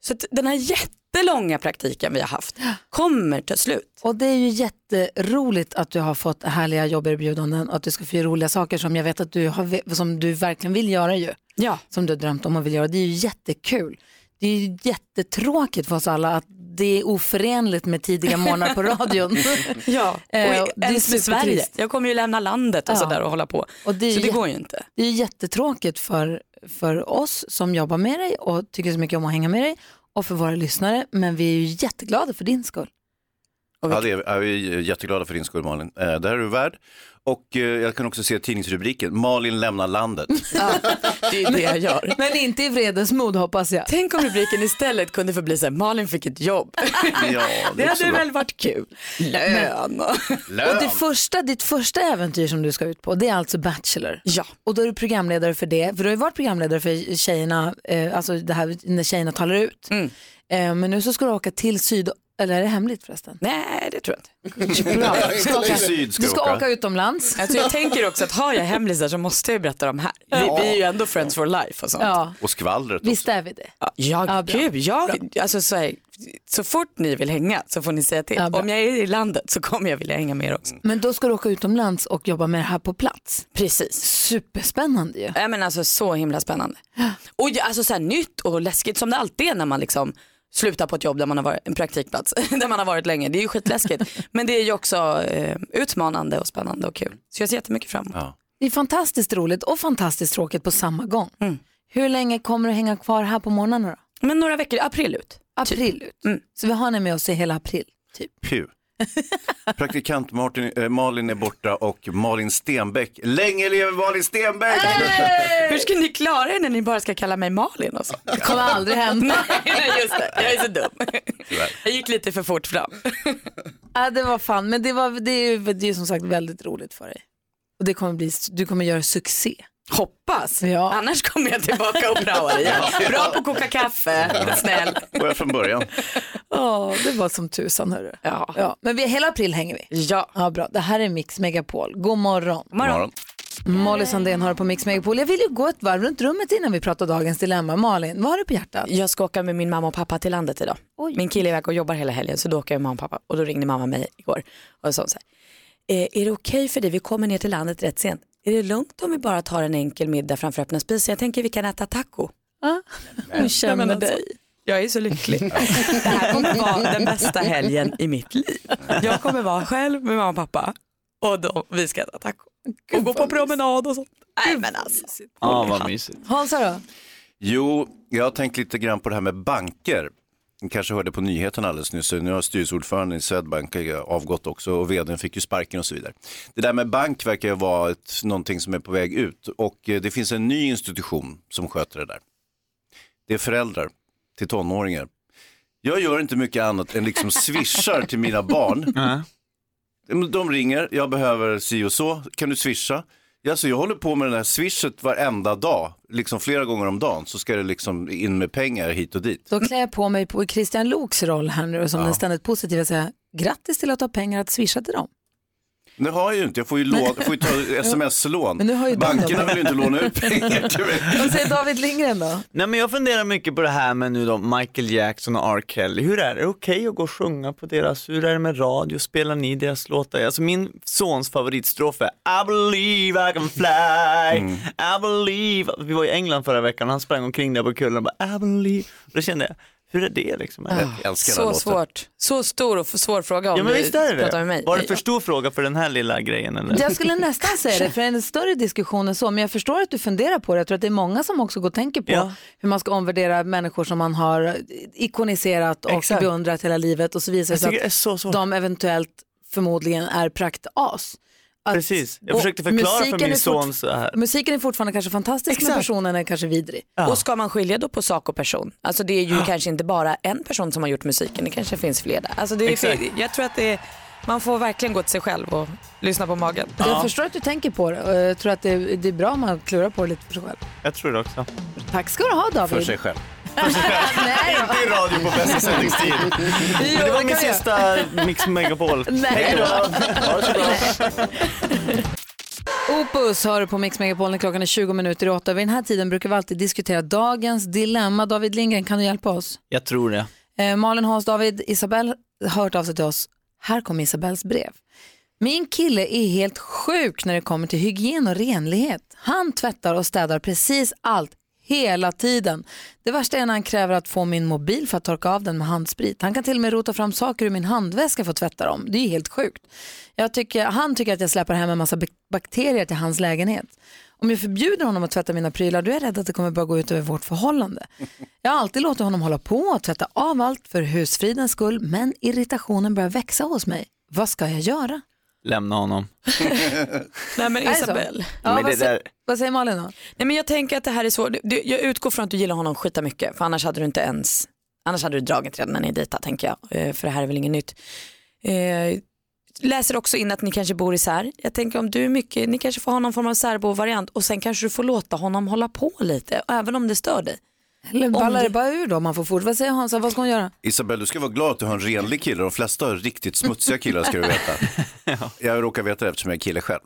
S2: Så att den här jättelånga praktiken vi har haft kommer ta slut.
S1: Och det är ju jätteroligt att du har fått härliga jobberbjudanden och att du ska få göra roliga saker som jag vet att du, har, som du verkligen vill göra ju.
S2: Ja.
S1: Som du har drömt om och vill göra. Det är ju jättekul. Det är ju jättetråkigt för oss alla att det är oförenligt med tidiga [LAUGHS] morgnar på radion.
S2: ja, och
S1: Eh,
S2: ens
S1: det är
S2: med Sverige.
S1: supertrist.
S2: Jag kommer ju lämna landet och
S1: Ja.
S2: sådär och hålla på.
S1: Och det är
S2: så det
S1: jätte-
S2: går ju inte.
S1: Det är ju jättetråkigt för, för oss som jobbar med dig och tycker så mycket om att hänga med dig och för våra lyssnare. Men vi är ju jätteglada för din skull.
S3: Ja, det är, ja, vi är jätteglada för din skull Malin. Eh, det här är du värd. Och eh, jag kan också se tidningsrubriken, Malin lämnar landet.
S2: Det är det jag gör.
S1: [LAUGHS] Men inte i vredesmod hoppas jag.
S2: Tänk om rubriken istället kunde få bli så här, Malin fick ett jobb.
S3: Ja,
S2: det
S3: är också
S2: hade
S3: bra.
S2: väl varit kul. Lön.
S1: Och det första, ditt första äventyr som du ska ut på, det är alltså Bachelor.
S2: Ja.
S1: Och då är du programledare för det, för du har ju varit programledare för tjejerna, eh, alltså det här när tjejerna talar ut. Eh, men nu så ska du åka till syd, eller är det hemligt förresten?
S2: Nej, det tror jag
S1: inte. Bra. Du ska åka, du ska åka utomlands.
S2: Alltså jag tänker också att har jag hemlisar så måste jag ju berätta dem här. Vi,
S1: Ja.
S2: vi är ju ändå friends for life och sånt.
S1: Ja.
S3: Och skvallret.
S1: Visst är vi det?
S2: Ja,
S1: Ja, bra.
S2: gud, jag, alltså, så, här, så fort ni vill hänga så får ni säga till.
S1: Ja, bra.
S2: Om jag är i landet så kommer jag vilja hänga med er också.
S1: Men då ska du åka utomlands och jobba med det här på plats.
S2: Precis.
S1: Superspännande ju.
S2: Ja, men alltså så himla spännande. Och ju- alltså så här nytt och läskigt som det alltid är när man liksom slutar på ett jobb där man har varit, en praktikplats, [LAUGHS] där man har varit länge. Det är ju skitläskigt. [LAUGHS] men det är ju också eh, utmanande och spännande och kul. Så jag ser jättemycket fram emot.
S1: Det är fantastiskt roligt och fantastiskt tråkigt på samma gång.
S2: Mm.
S1: Hur länge kommer du hänga kvar här på morgonen då?
S2: Men några veckor, april ut.
S1: April ut.
S2: Mm.
S1: Så vi har henne med oss i hela april. Typ.
S3: Puh. Praktikant Martin, eh, Malin är borta och Malin Stenbeck, länge lever Malin Stenbeck!
S2: Hur ska ni klara er när ni bara ska kalla mig Malin och så? Det
S1: kommer aldrig hända.
S2: [LAUGHS] nej, nej, just det. Jag är så dum. Jag gick lite för fort fram.
S1: Ja, det var fan, men det, var, det, är, ju- det är ju som sagt väldigt roligt för dig. Och det kommer bli, du kommer göra succé.
S2: Hoppas.
S1: Ja.
S2: Annars kommer jag tillbaka och [LAUGHS] praoar igen. Bra på att koka kaffe, snäll.
S3: Börja från början.
S1: Ja, det var som tusan hörru.
S2: Ja.
S1: Ja, men vi, hela april hänger vi.
S2: Ja.
S1: ja. Bra, det här är Mix Megapol. God morgon. God
S3: morgon.
S1: Molly Sandén har det på Mix Megapol. Jag vill ju gå ett varv runt rummet innan vi pratar dagens dilemma. Malin, vad har du på hjärtat?
S2: Jag ska åka med min mamma och pappa till landet idag. Min kille är iväg och jobbar hela helgen så då åker jag med mamma och pappa och då ringde mamma mig igår och sa så här, "Eh, är det okej för dig, vi kommer ner till landet rätt sent, är det lugnt om vi bara tar en enkel middag framför öppna spisen? Jag tänker vi kan äta taco.
S1: Ah, hon känner
S2: Jag menar
S1: dig.
S2: alltså, Jag är så lycklig. [LAUGHS] Det här kommer vara den bästa helgen i mitt liv. Jag kommer vara själv med mamma och pappa och då, vi ska äta taco. Och gå på promenad och sånt. Nej men alltså.
S3: Ja, vad mysigt.
S11: alltså-
S1: Hansa då?
S3: Jo, jag har tänkt lite grann på det här med banker. Ni kanske hörde på nyheten alldeles nyss, så nu har styrelseordföranden i Swedbank eh, avgått också och vdn fick ju sparken och så vidare. Det där med bank verkar ju vara ett, någonting som är på väg ut och eh, det finns en ny institution som sköter det där. Det är föräldrar till tonåringar. Jag gör inte mycket annat än liksom swishar till mina barn. De- De ringer, jag behöver si och så, kan du swisha? Ja, så jag håller på med det här swishet varenda dag, liksom flera gånger om dagen, så ska det liksom in med pengar hit och dit.
S1: Då klär jag på mig på Christian Loks roll här nu och som
S3: Ja.
S1: den ständigt positiva säga grattis till att du har pengar att swisha till dem.
S3: Men Det har jag ju inte, jag får ju, lån, får ju
S1: [LAUGHS]
S3: ta sms-lån.
S1: Men nu har ju de
S3: Bankerna
S1: dem.
S3: vill ju inte låna
S1: [LAUGHS]
S3: ut pengar till mig.
S1: Vad säger David Lindgren då?
S11: Nej men jag funderar mycket på det här med nu då Michael Jackson och R. Kelly. Hur är det, är det okej att gå och sjunga på deras, hur är det med radio, spelar ni deras låtar? Alltså min sons favoritstrof är I believe I can fly,
S6: Mm.
S11: I believe. Vi var i England förra veckan och han sprang omkring där på kullen och bara I believe. Då kände jag, hur är det liksom? Är det-
S5: så svårt. Så stor och f- svår fråga om
S11: Ja men
S5: du
S11: visst är
S5: pratar med
S11: det.
S5: mig.
S11: Var det för stor fråga för den här lilla grejen eller?
S1: Jag skulle nästan säga det, för det är en större diskussion än så, men jag förstår att du funderar på det. Jag tror att det är många som också går och tänker på
S11: Ja.
S1: hur man ska omvärdera människor som man har ikoniserat och
S11: Exakt.
S1: beundrat hela livet och så visar det
S11: Jag
S1: sig
S11: tycker det är
S1: att
S11: så svårt.
S1: de eventuellt förmodligen är praktas. Att-
S11: Precis, jag
S1: och
S11: försökte förklara för
S1: musiken är
S11: min äh,
S1: fort-
S11: son så här.
S1: Musiken är fortfarande kanske fantastisk men personen är kanske vidrig.
S5: Och ska man skilja då på sak och person? Alltså det är ju kanske inte bara en person som har gjort musiken, det kanske finns fler där. Alltså det
S1: Exakt.
S5: är, jag tror att det är, man får verkligen gå till sig själv och lyssna på magen.
S1: Jag förstår att du tänker på det och jag tror att det, det är bra om man klurar på det lite för sig själv.
S11: Jag tror det också.
S1: Tack ska du ha David.
S3: själv.
S1: [LAUGHS] Nej,
S11: Inte i radio på
S1: [LAUGHS]
S11: bästa sändningstid. Men det var
S1: det
S11: min
S1: kan jag.
S11: sista Mix Megapol.
S1: [LAUGHS] Nej
S11: Hej
S1: då.
S11: då.
S1: [LAUGHS] Opus hör du på Mix Megapol när klockan är 20 minuter i åtta. Vid den här tiden brukar vi alltid diskutera dagens dilemma. David Lindgren, kan du hjälpa oss?
S11: Jag tror det.
S1: Eh, Malin, Hans, David, Isabel har hört av sig till oss. Här kommer Isabels brev. Min kille är helt sjuk när det kommer till hygien och renlighet. Han tvättar och städar precis allt hela tiden. Det värsta är när han kräver att få min mobil för att torka av den med handsprit. Han kan till och med rota fram saker ur min handväska för att tvätta dem. Det är ju helt sjukt. Jag tycker, han tycker att jag släpar hem en massa bak- bakterier till hans lägenhet. Om jag förbjuder honom att tvätta mina prylar då är jag rädd att det kommer börja gå ut över vårt förhållande. Jag har alltid låtit honom hålla på och tvätta av allt för husfridens skull men irritationen börjar växa hos mig. Vad ska jag göra?
S11: Lämna honom.
S5: Nej men
S1: Är det så?
S5: Isabel.
S1: Ja, vad, sä- vad säger Malin då?
S5: Nej, men jag tänker att det här är svårt. Du- Jag utgår från att du gillar honom skita mycket för annars hade du inte ens, annars hade du dragit redan när ni dejtade tänker jag. Eh, För det här är väl inget nytt. Eh, läser också in att ni kanske bor isär. Jag tänker om du är mycket, ni kanske får ha någon form av särbo-variant och sen kanske du får låta honom hålla på lite även om det stör dig.
S1: Eller ballar det bara ur då om man får fort? Vad säger Hansa, vad ska hon göra?
S3: Isabel, du ska vara glad att du har en renlig kille. De flesta har riktigt smutsiga killar ska du
S1: [LAUGHS]
S3: veta. Jag råkar veta det eftersom jag är kille själv.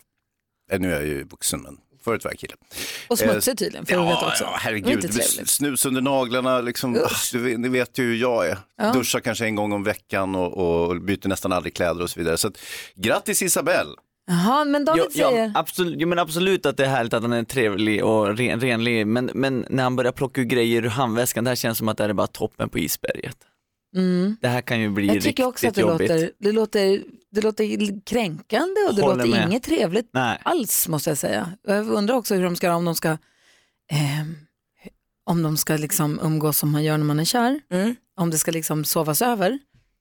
S3: Eh, Nu är jag ju vuxen men förut var jag kille.
S1: Och smutsig tydligen, får
S3: ja,
S1: du veta också.
S3: Ja,
S1: Det är
S3: herregud.
S1: inte trevligt.
S3: Snus under naglarna, liksom, ah, du, vet- ni vet ju hur jag är.
S1: Ja.
S3: Duschar kanske en gång om veckan och, och byter nästan aldrig kläder och så vidare. Så att, grattis Isabel.
S1: Jaha, men David
S11: ja,
S1: säger...
S11: absolut, jo, men absolut att det är härligt att han är trevlig och ren, renlig, men, men när han börjar plocka ur grejer ur handväskan, det här känns som att det här är bara toppen på isberget.
S1: Mm.
S11: Det här kan ju bli
S1: Jag
S11: riktigt
S1: tycker också att det
S11: jobbigt.
S1: låter, det, låter, det låter kränkande och det
S11: Håller
S1: låter
S11: med.
S1: inget trevligt
S11: Nej.
S1: alls måste jag säga. Jag undrar också hur de ska göra om de ska, ehm, om de ska liksom umgås som man gör när man är kär. Om det ska liksom sovas över.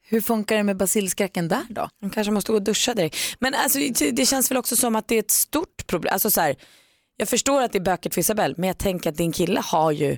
S1: Hur funkar det med basilskräcken där då?
S5: De kanske måste gå och duscha direkt. Men alltså, det- det känns väl också som att det är ett stort problem. Alltså, så här, jag förstår att det är bökigt för Isabel men jag tänker att din kille har ju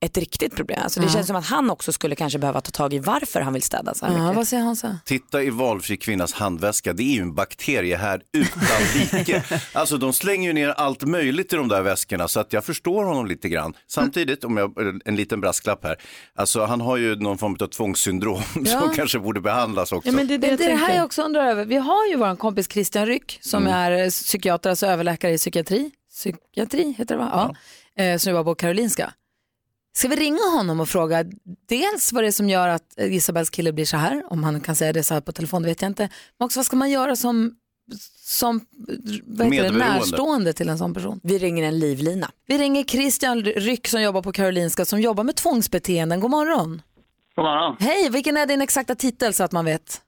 S5: ett riktigt problem. Alltså, det
S1: Ja.
S5: känns som att han också skulle kanske behöva ta tag i varför han vill städa så här
S1: Ja,
S5: mycket.
S1: vad säger Hansa?
S3: Titta i valfri kvinnas handväska, det är ju en bakterie här utan
S1: [LAUGHS]
S3: like. Alltså de slänger ju ner allt möjligt i de där väskorna så att jag förstår honom lite grann. Samtidigt, om jag, en liten brasklapp här, alltså han har ju någon form av tvångssyndrom [LAUGHS]
S1: Ja.
S3: som kanske borde behandlas också.
S1: det, är det här jag Mm. också undrar över. Vi har ju vår kompis Christian Ryck som är psykiater, alltså överläkare i psykiatri. Psykiatri heter det va? Ja. Eh, som jobbar på Karolinska. Ska vi ringa honom och fråga dels vad det är som gör att eh, Isabels kille blir så här, om han kan säga det så här på telefon, det vet jag inte. Men också vad ska man göra som, som vad heter det,
S5: Medberoende.
S1: närstående till en sån person?
S5: Vi ringer en livlina.
S1: Vi ringer Christian Ryck som jobbar på Karolinska som jobbar med tvångsbeteenden. God morgon.
S12: God morgon.
S1: Hej, vilken är din exakta titel så att man vet?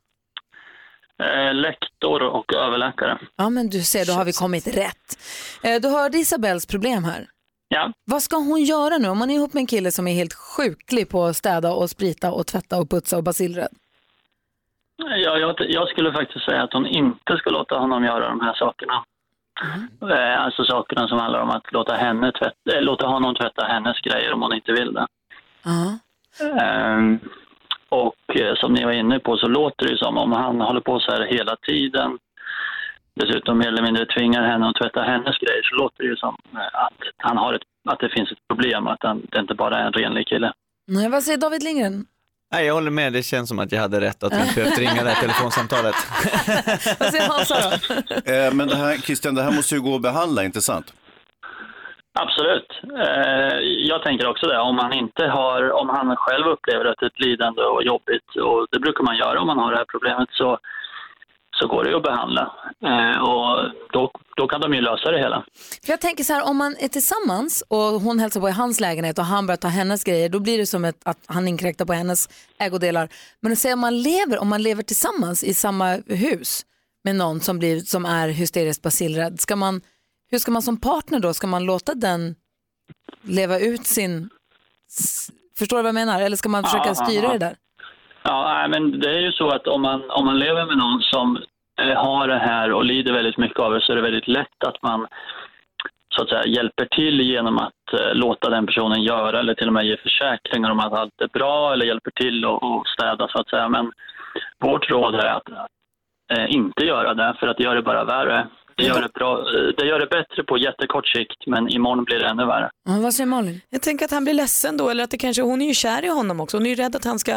S12: Eh, Lektor och överläkare.
S1: Ja men du ser, då har vi kommit rätt. Eh, Du hörde Isabels problem här.
S12: Ja.
S1: Vad ska hon göra nu om man är ihop med en kille som är helt sjuklig på att städa och sprita och tvätta och putsa och basilrädd?
S12: Jag, jag, jag skulle faktiskt säga att hon inte ska låta honom göra de här sakerna.
S5: Mm.
S12: Eh, Alltså sakerna som handlar om att låta, henne tvätta, eh, låta honom tvätta hennes grejer om hon inte vill det. Ehm, och eh, som ni var inne på så låter det ju som om han håller på så här hela tiden. Dessutom mer eller mindre tvingar henne att tvätta hennes grejer så låter det ju som eh, att, han har ett, att det finns ett problem, att han, det inte bara är en renlig kille.
S1: Nej, vad säger David Lindgren?
S11: Nej, jag håller med. Det känns som att jag hade rätt att
S1: [LAUGHS]
S11: vi inte behövt ringa det här telefonsamtalet.
S1: Vad säger Hansa då?
S3: Eh, men det här, Christian, det här måste ju gå att behandla, inte sant?
S12: Absolut. Eh, jag tänker också det. Om han, inte har, om han själv upplever att det är ett lidande och jobbigt, och det brukar man göra om man har det här problemet, så, så går det ju att behandla. Eh, och då, då kan de ju lösa det hela.
S1: För jag tänker så här, om man är tillsammans och hon hälsar på i hans lägenhet och han börjar ta hennes grejer, då blir det som ett, att han inkräktar på hennes ägodelar. Men att säga om man lever, om man lever tillsammans i samma hus med någon som, blir, som är hysteriskt basilrädd, ska man, hur ska man som partner då, ska man låta den leva ut sin, s- förstår du vad jag menar? Eller ska man försöka
S12: Ja, ja,
S1: styra
S12: ja.
S1: det där?
S12: Ja, nej, men det är ju så att om man, om man lever med någon som eh, har det här och lider väldigt mycket av det så är det väldigt lätt att man så att säga, hjälper till genom att eh, låta den personen göra eller till och med ge försäkringar om att allt är bra eller hjälper till och, och städa så att säga. Men vårt råd är att eh, inte göra det för att det gör det bara värre. Det gör det, bra, eh, det gör det bättre på jättekort sikt men imorgon blir det ännu värre.
S1: vad säger Malin?
S5: Jag tänker att han blir ledsen då eller att det kanske, hon är ju kär i honom också. Hon är ju rädd att han ska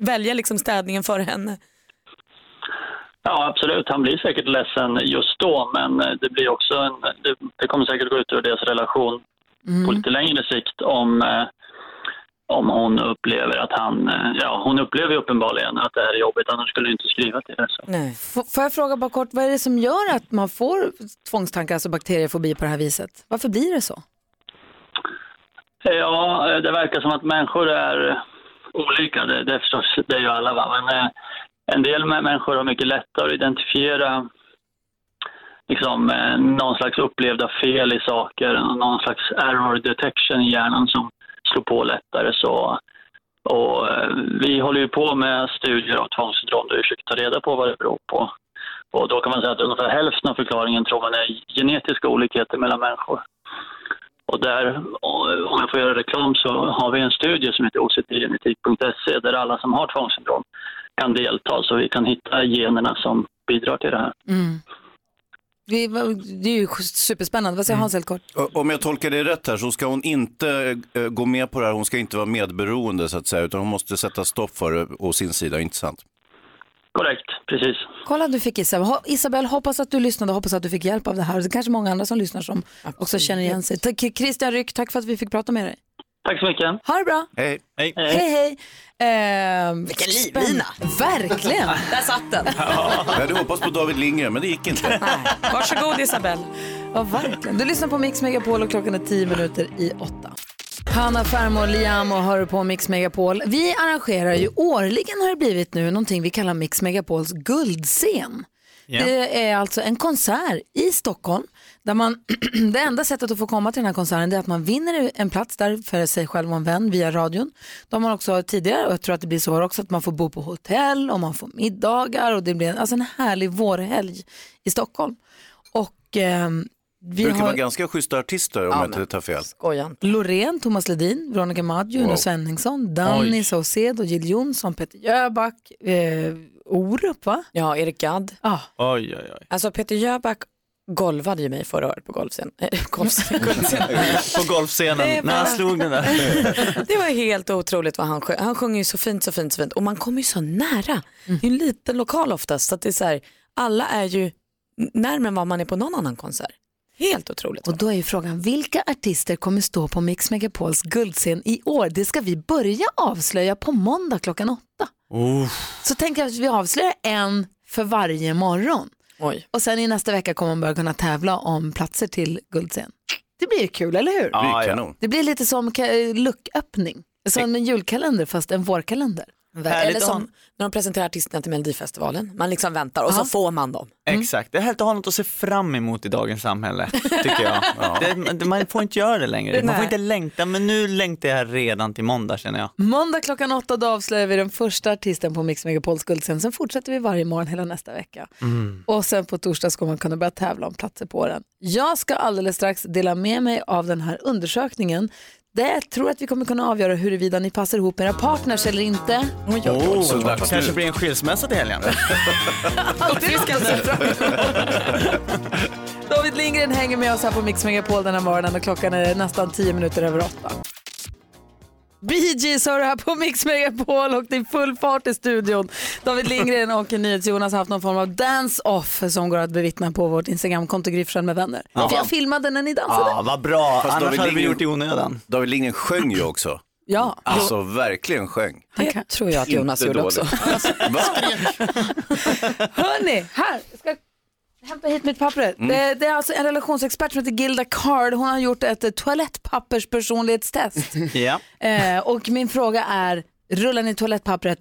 S5: välja liksom städningen för henne.
S12: Ja, absolut. Han blir säkert ledsen just då, men eh, det, blir också en, det, det kommer säkert gå ut över deras relation
S1: Mm.
S12: på lite längre sikt om, eh, om hon upplever att han... eh, Ja, hon upplever ju uppenbarligen att det här är jobbigt, annars skulle hon inte skriva till det. Så.
S1: F- får jag fråga bara kort, vad är det som gör att man får tvångstankar, alltså bakteriefobi på det här viset? Varför blir det så?
S12: Ja, eh, det verkar som att människor är olika. Det, det, är förstås, det är ju alla. Va? Men eh, en del mä- människor har mycket lättare att identifiera liksom, eh, någon slags upplevda fel i saker. Någon slags error detection i hjärnan som slår på lättare. Så, och, eh, vi håller ju på med studier av tvångssyndrom där vi försöker ta reda på vad det beror på. Och då kan man säga att ungefär hälften av förklaringen tror man är genetiska olikheter mellan människor. Och där, och om jag får göra reklam, så har vi en studie som heter octgenetik.se E, där alla som har tvångssyndrom kan delta så vi kan hitta generna som bidrar till det här.
S1: Det är, Mm. det är ju superspännande. Vad säger
S5: Mm.
S1: Hans helt kort?
S3: Ö- Om jag tolkar det rätt här så ska hon inte eh, gå med på det här, hon ska inte vara medberoende så att säga, utan hon måste sätta stopp för det å sin sida, inte sant?
S12: Korrekt, precis.
S1: Kolla, du fick Isabel. Ha- Isabel, hoppas att du lyssnade och hoppas att du fick hjälp av det här. Det är kanske många andra som lyssnar som också känner igen sig. Tack, Christian Ryck, tack för att vi fick prata med dig.
S12: Tack så mycket.
S1: Ha det bra.
S3: Hej. Hej.
S1: Hej, hej. Ehm, Vilken livlina. Verkligen.
S5: Där satt den.
S3: Jag hade hoppats på David Lindgren, men det gick inte.
S5: Varsågod Isabelle.
S1: Ja, verkligen. Du lyssnar på Mix Megapol och klockan är tio minuter i åtta. Hanna Färmo och Liam och hör på Mix Megapol. Vi arrangerar ju årligen har det blivit nu någonting vi kallar Mix Megapols guldscen.
S13: Ja.
S1: Det är alltså en konsert i Stockholm där man, [CLEARS THROAT] det enda sättet att få komma till den här konserten det är att man vinner en plats där för sig själv och en vän via radion. De har man också tidigare, och jag tror att det blir så här också, att man får bo på hotell och man får middagar och det blir en, alltså en härlig vårhelg i Stockholm. Och ehm,
S3: Det
S1: vi
S3: brukar vara
S1: har
S3: ganska schyssta artister om jag inte tar fel.
S1: Loreen, Thomas Ledin, Veronica Maggio,
S3: Wow.
S1: Uno Svenningsson, Danny
S3: Oj.
S1: Saucedo, Jill Johnson, Peter Jöback, eh, Orup va?
S5: Ja, Erik Gadd.
S1: Ah.
S11: Oj, oj, oj.
S5: Alltså Peter Jöback golvade ju mig förra året på golfscen. Eh, golfscen. golfscen.
S11: På
S5: Det är
S11: golfscenen, när han
S5: bara-
S11: slog den där.
S5: Det var helt otroligt vad han sjöng. Han sjunger ju så fint, så fint, så fint. Och man kommer ju så nära. Det är ju en liten lokal oftast. Så att det är så här, alla är ju n- närmare än vad man är på någon annan konsert. Helt otroligt.
S1: Och då är ju frågan, vilka artister kommer stå på Mix Megapols guldscen i år? Det ska vi börja avslöja på måndag klockan åtta. Så tänker jag att vi avslöjar en för varje morgon.
S5: Oj.
S1: Och sen i nästa vecka kommer man börja kunna tävla om platser till guldscen. Det blir ju kul, eller hur?
S3: Ja, Det blir ja. kanon.
S1: Det blir lite som ka- lucköppning. Som en julkalender fast en vårkalender.
S11: Härligt
S2: Eller
S11: om-
S2: som när de presenterar artisterna till Melodifestivalen. Man liksom väntar och så får man dem.
S1: Mm.
S11: Exakt, det är härligt att ha något att se fram emot i dagens samhälle, tycker [LAUGHS] jag. det, det- man får inte göra det längre, man
S1: Nej.
S11: får inte längta, men nu längtar jag redan till måndag känner jag.
S1: Måndag klockan åtta då avslöjar vi den första artisten på Mix Megapols guldscen. Sen fortsätter vi varje morgon hela nästa vecka. Och sen på torsdag ska man kunna börja tävla om platser på den. Jag ska alldeles strax dela med mig av den här undersökningen. Där jag tror att vi kommer kunna avgöra huruvida ni passar ihop med era partners eller inte.
S11: Oh,
S13: Så
S11: det
S13: dags
S11: kanske
S13: nu.
S11: blir en skilsmässa till helgen.
S1: Alltid ska jag se fram emot. [LAUGHS] David Lindgren hänger med oss här på Mix Megapol den här morgonen och klockan är nästan tio minuter över åtta. Bee Gees har du här på Mix Megapol och det är full fart i studion. David Lindgren och NyhetsJonas har haft någon form av dance-off som går att bevittna på vårt Instagramkonto Gryfsjön med vänner.
S3: Ja.
S1: För jag filmade när ni dansade.
S11: vad bra,
S3: Fast
S11: annars
S3: David
S11: hade vi
S3: Lindgren-
S11: gjort det i onödan.
S3: David Lindgren sjöng ju också.
S1: Ja.
S3: Alltså verkligen sjöng.
S2: Det tror jag att
S3: Inte
S2: Jonas gjorde
S3: dåligt.
S2: också.
S1: Hörni, här, jag ska hämta hit mitt papper.
S3: Mm.
S1: Det, det är alltså en relationsexpert som heter Gilda Card. Hon har gjort ett eh, toalettpapperspersonlighetstest.
S11: Ja.
S1: Eh, och min fråga är, rullar ni toalettpappret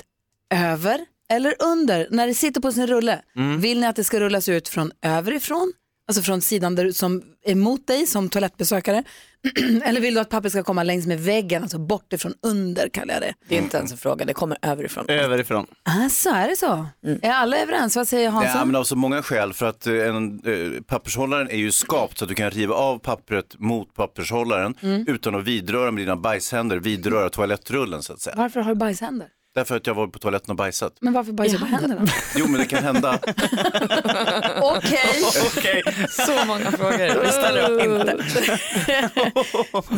S1: över eller under? När det sitter på sin rulle,
S13: Mm.
S1: vill ni att det ska rullas ut från överifrån? Alltså från sidan där, som är mot dig som toalettbesökare? [CLEARS THROAT] eller vill du att pappret ska komma längs med väggen, alltså bortifrån under kallar jag det.
S2: Det är inte ens en fråga, det kommer överifrån.
S11: Överifrån.
S1: Alltså, är det så? Är alla överens? Vad säger Hansson?
S3: Ja, Eh, men av så många skäl. För att eh, en, eh, pappershållaren är ju skapt så att du kan riva av pappret mot pappershållaren
S1: Mm.
S3: utan att vidröra med dina bajshänder, vidröra toalettrullen så att säga.
S1: Varför har du bajshänder?
S3: Därför att jag var på toaletten och bajsat.
S1: Men varför bajsar du på händerna?
S3: Jo, men det kan hända.
S1: Okej.
S11: Okej.
S1: Så
S5: [LAUGHS]
S1: många
S13: frågor. Vi ställer
S1: inte.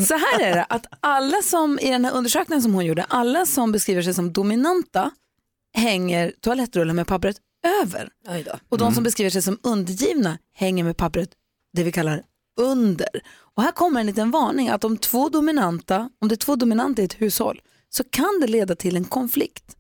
S1: [LAUGHS] Så här är det, att alla som i den här undersökningen som hon gjorde, alla som beskriver sig som dominanta hänger toalettrullen med pappret över.
S2: Oj då.
S1: Och de som beskriver sig som undergivna hänger med pappret, det vi kallar under. Och här kommer en liten varning att om två dominanta, om det är två dominanta i ett hushåll så kan det leda till en konflikt.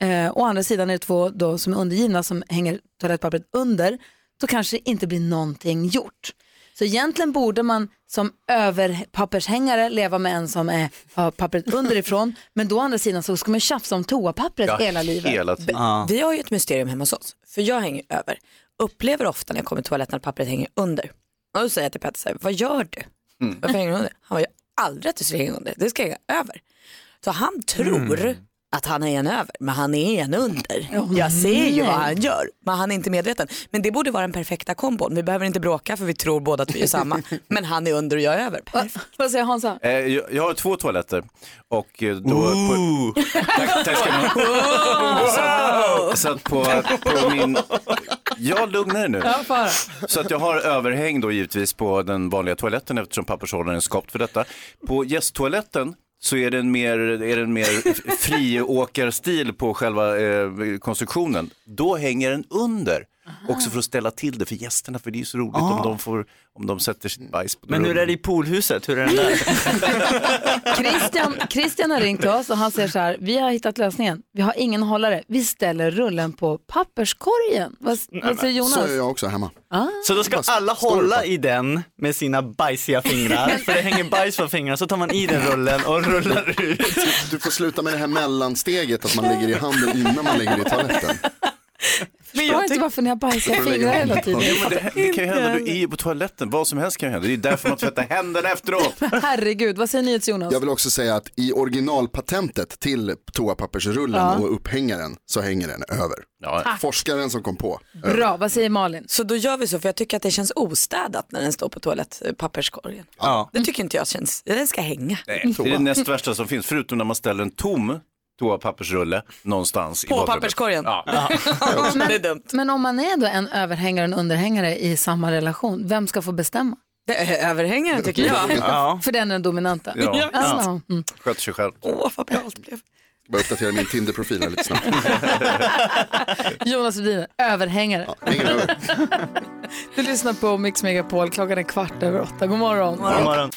S1: Eh, å andra sidan är det två då som är undergivna som hänger toalettpappret under, då kanske det inte blir någonting gjort. Så egentligen borde man som överpappershängare leva med en som är, har pappret underifrån, men då å andra sidan så ska man tjafsa om toapappret hela livet.
S2: Vi- Vi har ju ett mysterium hemma hos oss, för jag hänger över. Upplever ofta när jag kommer till toaletten att pappret hänger under. Och då säger jag till Petter, så här, vad gör du? Varför hänger du under? Han var ju aldrig att du skulle hänga under, det ska jag hänga över. Så han tror att han är en över, men han är en under. jag ser ju vad
S13: nej.
S2: han gör, men han är inte medveten. Men det borde vara den perfekta kombon. Vi behöver inte bråka för vi tror båda att vi är samma. men han är under och jag är över.
S1: Vad säger Hansa?
S3: Eh, jag, jag har två toaletter och eh, då... På, [LAUGHS] tack, tack ska ni ha. Så- Så att på, på min... Jag lugnar er nu.
S13: Ja, fara.
S3: Så att jag har överhäng då givetvis på den vanliga toaletten eftersom pappershållaren är skapt för detta. På gästtoaletten så är den mer, är den mer friåkarstil på själva eh, konstruktionen. Då hänger den under. Också för att ställa till det för gästerna, för det är ju så roligt
S11: Ah.
S3: om, de får, om de sätter sitt bajs på
S11: Men hur är det i poolhuset, hur är den där?
S1: Christian, Christian har ringt till oss och han säger så här, vi har hittat lösningen, vi har ingen hållare, vi ställer rullen på papperskorgen. Vad, vad säger Jonas?
S7: Så är jag också hemma.
S11: Så då ska alla hålla i den med sina bajsiga fingrar, för det hänger bajs på fingrarna, så tar man i den rullen och rullar ut.
S7: Du får sluta med det här mellansteget att man lägger i handen innan man lägger i toaletten.
S1: Jag förstår inte varför ni har bajsiga
S7: Får du lägga
S1: fingrar hela
S7: handen på
S1: tiden.
S3: Jo, men det, det kan ju hända, du är ju på toaletten, vad som helst kan ju hända. Det är ju därför man tvättar händerna efteråt.
S1: Herregud, vad säger NyhetsJonas?
S7: Jag vill också säga att i originalpatentet till toapappersrullen
S1: Ja.
S7: och upphängaren så hänger den över.
S1: Tack.
S7: Forskaren som kom på. över.
S1: Bra, vad säger Malin?
S2: Så då gör vi så, för jag tycker att det känns ostädat när den står på toalettpapperskorgen.
S11: Ja.
S2: Det tycker inte jag känns, den ska hänga.
S3: Nej, det är det näst värsta som finns, förutom när man ställer en tom toapappersrulle någonstans. i
S2: På
S3: badrummet. [LAUGHS]
S2: papperskorgen?
S3: Ja.
S1: Men,
S2: det är dumt.
S1: men om man är då en överhängare och en underhängare i samma relation, vem ska få bestämma?
S2: Det är överhängaren tycker jag.
S3: Ja.
S1: För den är den dominanta.
S3: Ja.
S1: Alltså, mm.
S3: Sköter sig själv.
S2: Åh, vad bra allt blev.
S7: Ska Bara uppdatera min Tinder-profil här lite snabbt.
S1: Jonas Rhodin, överhängare. du lyssnar på Mix Megapol, klockan är kvart över åtta. God morgon.
S11: God morgon.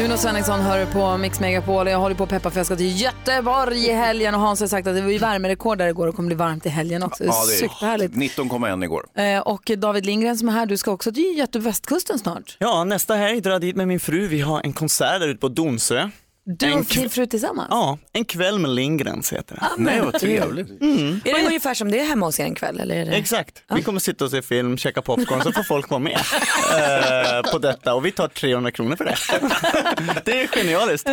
S1: Jonas Svenningsson hör du på Mix Megapol och jag håller på att peppa för jag ska till Göteborg i helgen och Hans har sagt att det var ju värmerekord där igår och kommer bli varmt i helgen också.
S3: Ja, det är
S1: Superhärligt.
S3: 19,1 igår.
S1: Eh, Och David Lindgren som är här, du ska också till Götevästkusten snart.
S11: Ja, nästa helg drar jag dit med min fru. Vi har en konsert där ute på Donsö.
S1: Du
S11: En
S1: och din
S11: kv-
S1: fru tillsammans?
S11: Ja, En kväll med Lindgrens heter det.
S2: men- Nej, vad trevligt.
S11: Mm.
S2: Är det ungefär som det är hemma hos er en kväll? Eller är det...
S11: Exakt, vi kommer sitta och se film, käka popcorn, så får folk vara [LAUGHS] med eh, på detta och vi tar 300 kronor för det. [LAUGHS] det är genialiskt.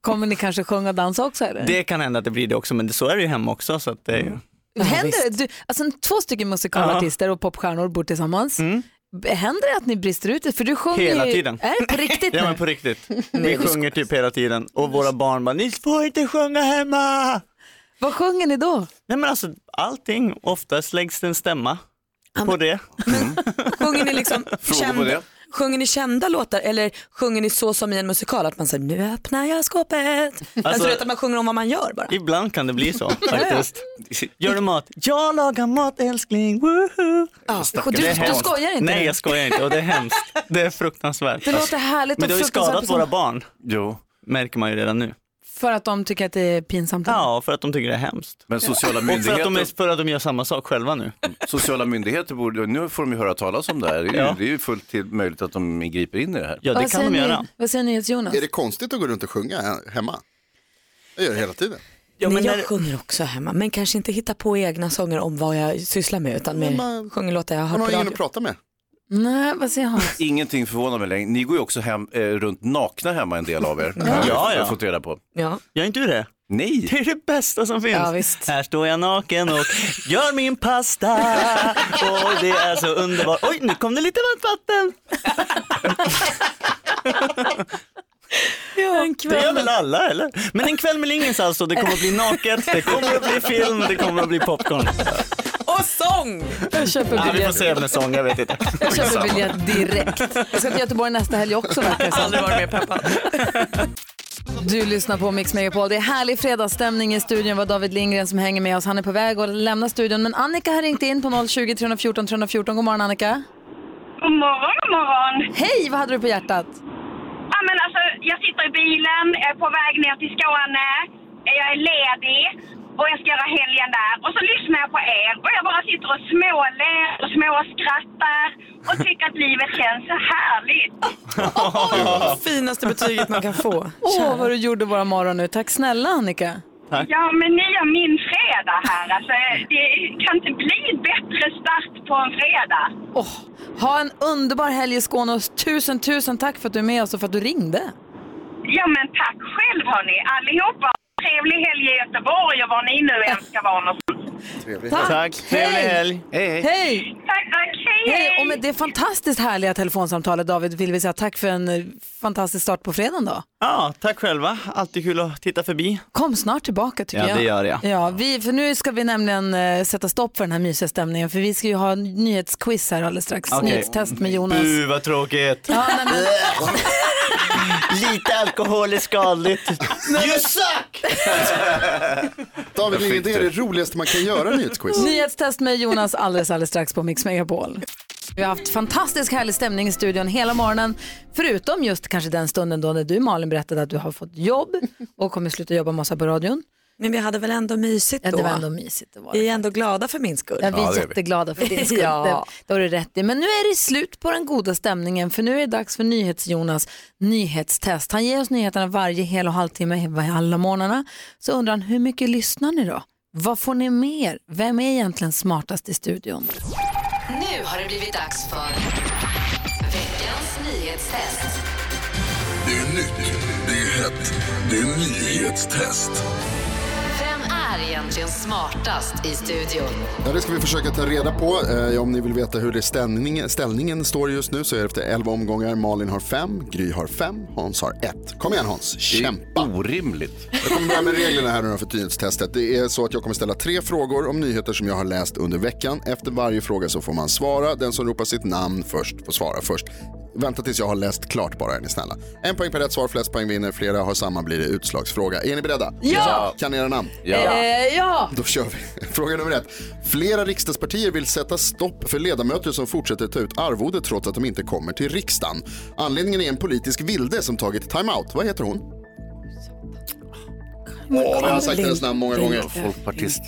S1: Kommer [LAUGHS] ni kanske sjunga och dansa också? Eller?
S11: Det kan hända att det blir det också, men det, så är det ju hemma också. Så att det är
S1: Mm.
S11: ju...
S1: Händer det? Du, alltså, två stycken musikalartister och popstjärnor bor tillsammans. B- Händer det att ni brister ut det? För du sjunger
S11: Mm. Hela
S1: ju...
S11: tiden.
S1: Är det på
S11: [LAUGHS]
S1: riktigt?
S11: Ja
S1: nu?
S11: men på
S1: [LAUGHS]
S11: riktigt.
S1: Nej,
S11: Vi
S1: du
S11: sjunger typ hela tiden och våra barn bara, ni får inte sjunga hemma.
S1: Vad sjunger ni då?
S11: Nej men alltså allting, oftast läggs det en stämma på det.
S2: Sjunger ni liksom
S11: Frågor på
S2: kända,
S11: det?
S2: sjunger ni kända låtar eller sjunger ni så som i en musikal att man säger nu öppnar jag skåpet? Alltså, du vet att man sjunger om vad man gör bara.
S11: Ibland kan det bli
S1: [LAUGHS]
S11: så faktiskt. Gör du mat? Jag lagar mat älskling, woho!
S1: och du-
S11: Det är
S1: du
S11: hemskt.
S1: skojar inte nu?
S11: Nej jag skojar inte och det är hemskt. Det är fruktansvärt.
S1: Det låter härligt
S11: Men
S1: och
S11: det har ju
S1: fruktansvärt
S11: skadat
S1: på
S11: våra
S1: samma-
S11: barn. Jo. Märker man ju redan nu.
S1: För att de tycker att det är pinsamt?
S11: Ja, för att de tycker det är hemskt.
S3: Men
S11: Och för
S3: sociala
S11: att de, är,
S3: myndigheter-
S11: för att de gör samma sak själva nu.
S3: Sociala myndigheter borde, nu får de ju höra talas om det här. Det är ju,
S11: Ja.
S3: det är ju fullt till, möjligt att de griper in i det här.
S11: Ja,
S1: vad säger Ni, vad säger ni, Jonas?
S7: Är det konstigt att gå runt och sjunga he- hemma? Jag gör det hela tiden.
S2: Nej, jag sjunger också hemma men kanske inte hitta på egna sånger om vad jag sysslar med utan mer
S7: Men-
S2: sjunger låtar jag har
S7: Man
S2: hört
S7: har
S2: på
S7: ingen
S2: radio.
S7: att prata med.
S1: Nej, vad säger han?
S3: Ingenting förvånar mig längre. Ni går ju också hem, eh, runt nakna hemma en del av er.
S11: Ja.
S3: Har jag
S11: Ja, ja.
S3: fått reda på.
S2: Ja.
S11: Gör inte du det?
S3: Nej.
S11: Det är det bästa som finns.
S3: Ja,
S11: Här står jag naken och gör min pasta. Och det är så underbart. Oj, nu kom det lite varmt vatten.
S2: Ja, en
S11: Det gör väl alla eller? Men en kväll med Lingens alltså, det kommer att bli naket, det kommer att bli film, det kommer att bli popcorn.
S2: Och sång!
S1: Jag köper
S11: Ja, vi får
S1: biljett.
S11: se med sång, jag vet inte.
S1: Jag köper biljett direkt. Jag ska till Göteborg nästa helg också verkar det
S2: Aldrig varit mer peppad.
S1: Du lyssnar på Mix Megapol. Det är härlig fredagsstämning i studion. var David Lindgren som hänger med oss. Han är på väg att lämna studion. Men Annika har ringt in på 020 314 314. God morgon Annika.
S4: God morgon, god morgon.
S1: Hej, vad hade du på hjärtat?
S4: Ja, men alltså, jag sitter i bilen, jag är på väg ner till Skåne, jag är ledig och jag ska göra helgen där. Och så lyssnar jag på er och jag bara sitter och småler och småskrattar och tycker att livet känns så härligt.
S2: Finaste betyget man kan få.
S1: Åh, vad du gjorde våra morgon nu. Tack snälla Annika.
S4: Ja, men ni har min fredag här. Alltså, det kan inte bli bättre start på en fredag.
S1: Åh, ha en underbar helg i Skåne och tusen, tusen tack för att du är med oss och för att du ringde.
S4: Ja, men tack själv hörni, allihopa. Trevlig helg i Göteborg och var ni nu än ska vara någonstans.
S1: Tack.
S11: trevlig helg.
S1: Hej.
S4: Tack, tack. Hej, hej.
S1: Och med det fantastiskt härliga telefonsamtalet David vill vi säga tack för en eh, fantastisk start på fredagen då.
S11: Ja, tack själva. Alltid kul att titta förbi.
S1: Kom snart tillbaka tycker
S11: Ja,
S1: jag.
S11: det gör jag.
S1: Ja, vi, för nu ska vi nämligen eh, sätta stopp för den här mysiga stämningen för vi ska ju ha en nyhetsquiz här alldeles strax.
S11: Okej. Mm.
S1: Nyhetstest med Jonas.
S11: Bu, vad tråkigt.
S1: Ja, nej, men...
S11: Lite alkohol är skadligt. You suck!
S7: David Lindgren, det är det roligaste man kan göra i nyhetsquiz.
S1: Nyhetstest med Jonas alldeles, alldeles strax på Mix Megapol. Vi har haft fantastisk härlig stämning i studion hela morgonen. Förutom just kanske den stunden då när du Malin berättade att du har fått jobb och kommer sluta jobba massa på radion.
S2: Men vi hade väl ändå mysigt
S1: Ja,
S2: då?
S1: det var ändå mysigt. Det var
S2: vi är ändå glada för min skull.
S1: Ja, vi är jätteglada för [LAUGHS] din skull.
S2: ja.
S1: Det- Det har du rätt i. Men nu är det slut på den goda stämningen för nu är det dags för NyhetsJonas nyhetstest. Han ger oss nyheterna varje hel och halvtimme varje- alla morgnarna. Så undrar han, hur mycket lyssnar ni då? Vad får ni med er? Vem är egentligen smartast i studion?
S9: Nu har det blivit dags för veckans nyhetstest.
S14: Det är nytt, det är hett, det är nyhetstest.
S9: Vem är egentligen smartast i studion?
S7: Ja, det ska vi försöka ta reda på. Eh, om ni vill veta hur det ställningen, ställningen står just nu så är det efter 11 omgångar. Malin har 5, Gry har 5, Hans har 1. Kom igen Hans, kämpa. Eh,
S3: Orimligt.
S7: Jag kommer börja med reglerna här nu då för nyhetstestet. Det är så att jag kommer ställa tre frågor om nyheter som jag har läst under veckan. Efter varje fråga så får man svara. Den som ropar sitt namn först får svara först. Vänta tills jag har läst klart bara, är ni snälla. En poäng per rätt svar, flest poäng vinner, flera har samma blir det utslagsfråga. Är ni beredda?
S1: Ja!
S7: Kan ni era namn?
S1: Eh, ja.
S7: Då kör vi. [LAUGHS] Fråga nummer ett. Flera riksdagspartier vill sätta stopp för ledamöter som fortsätter ta ut arvode trots att de inte kommer till riksdagen. Anledningen är en politisk vilde som tagit timeout. Vad heter hon? Åh, vi har sagt hennes namn många gånger.
S3: Folkpartist.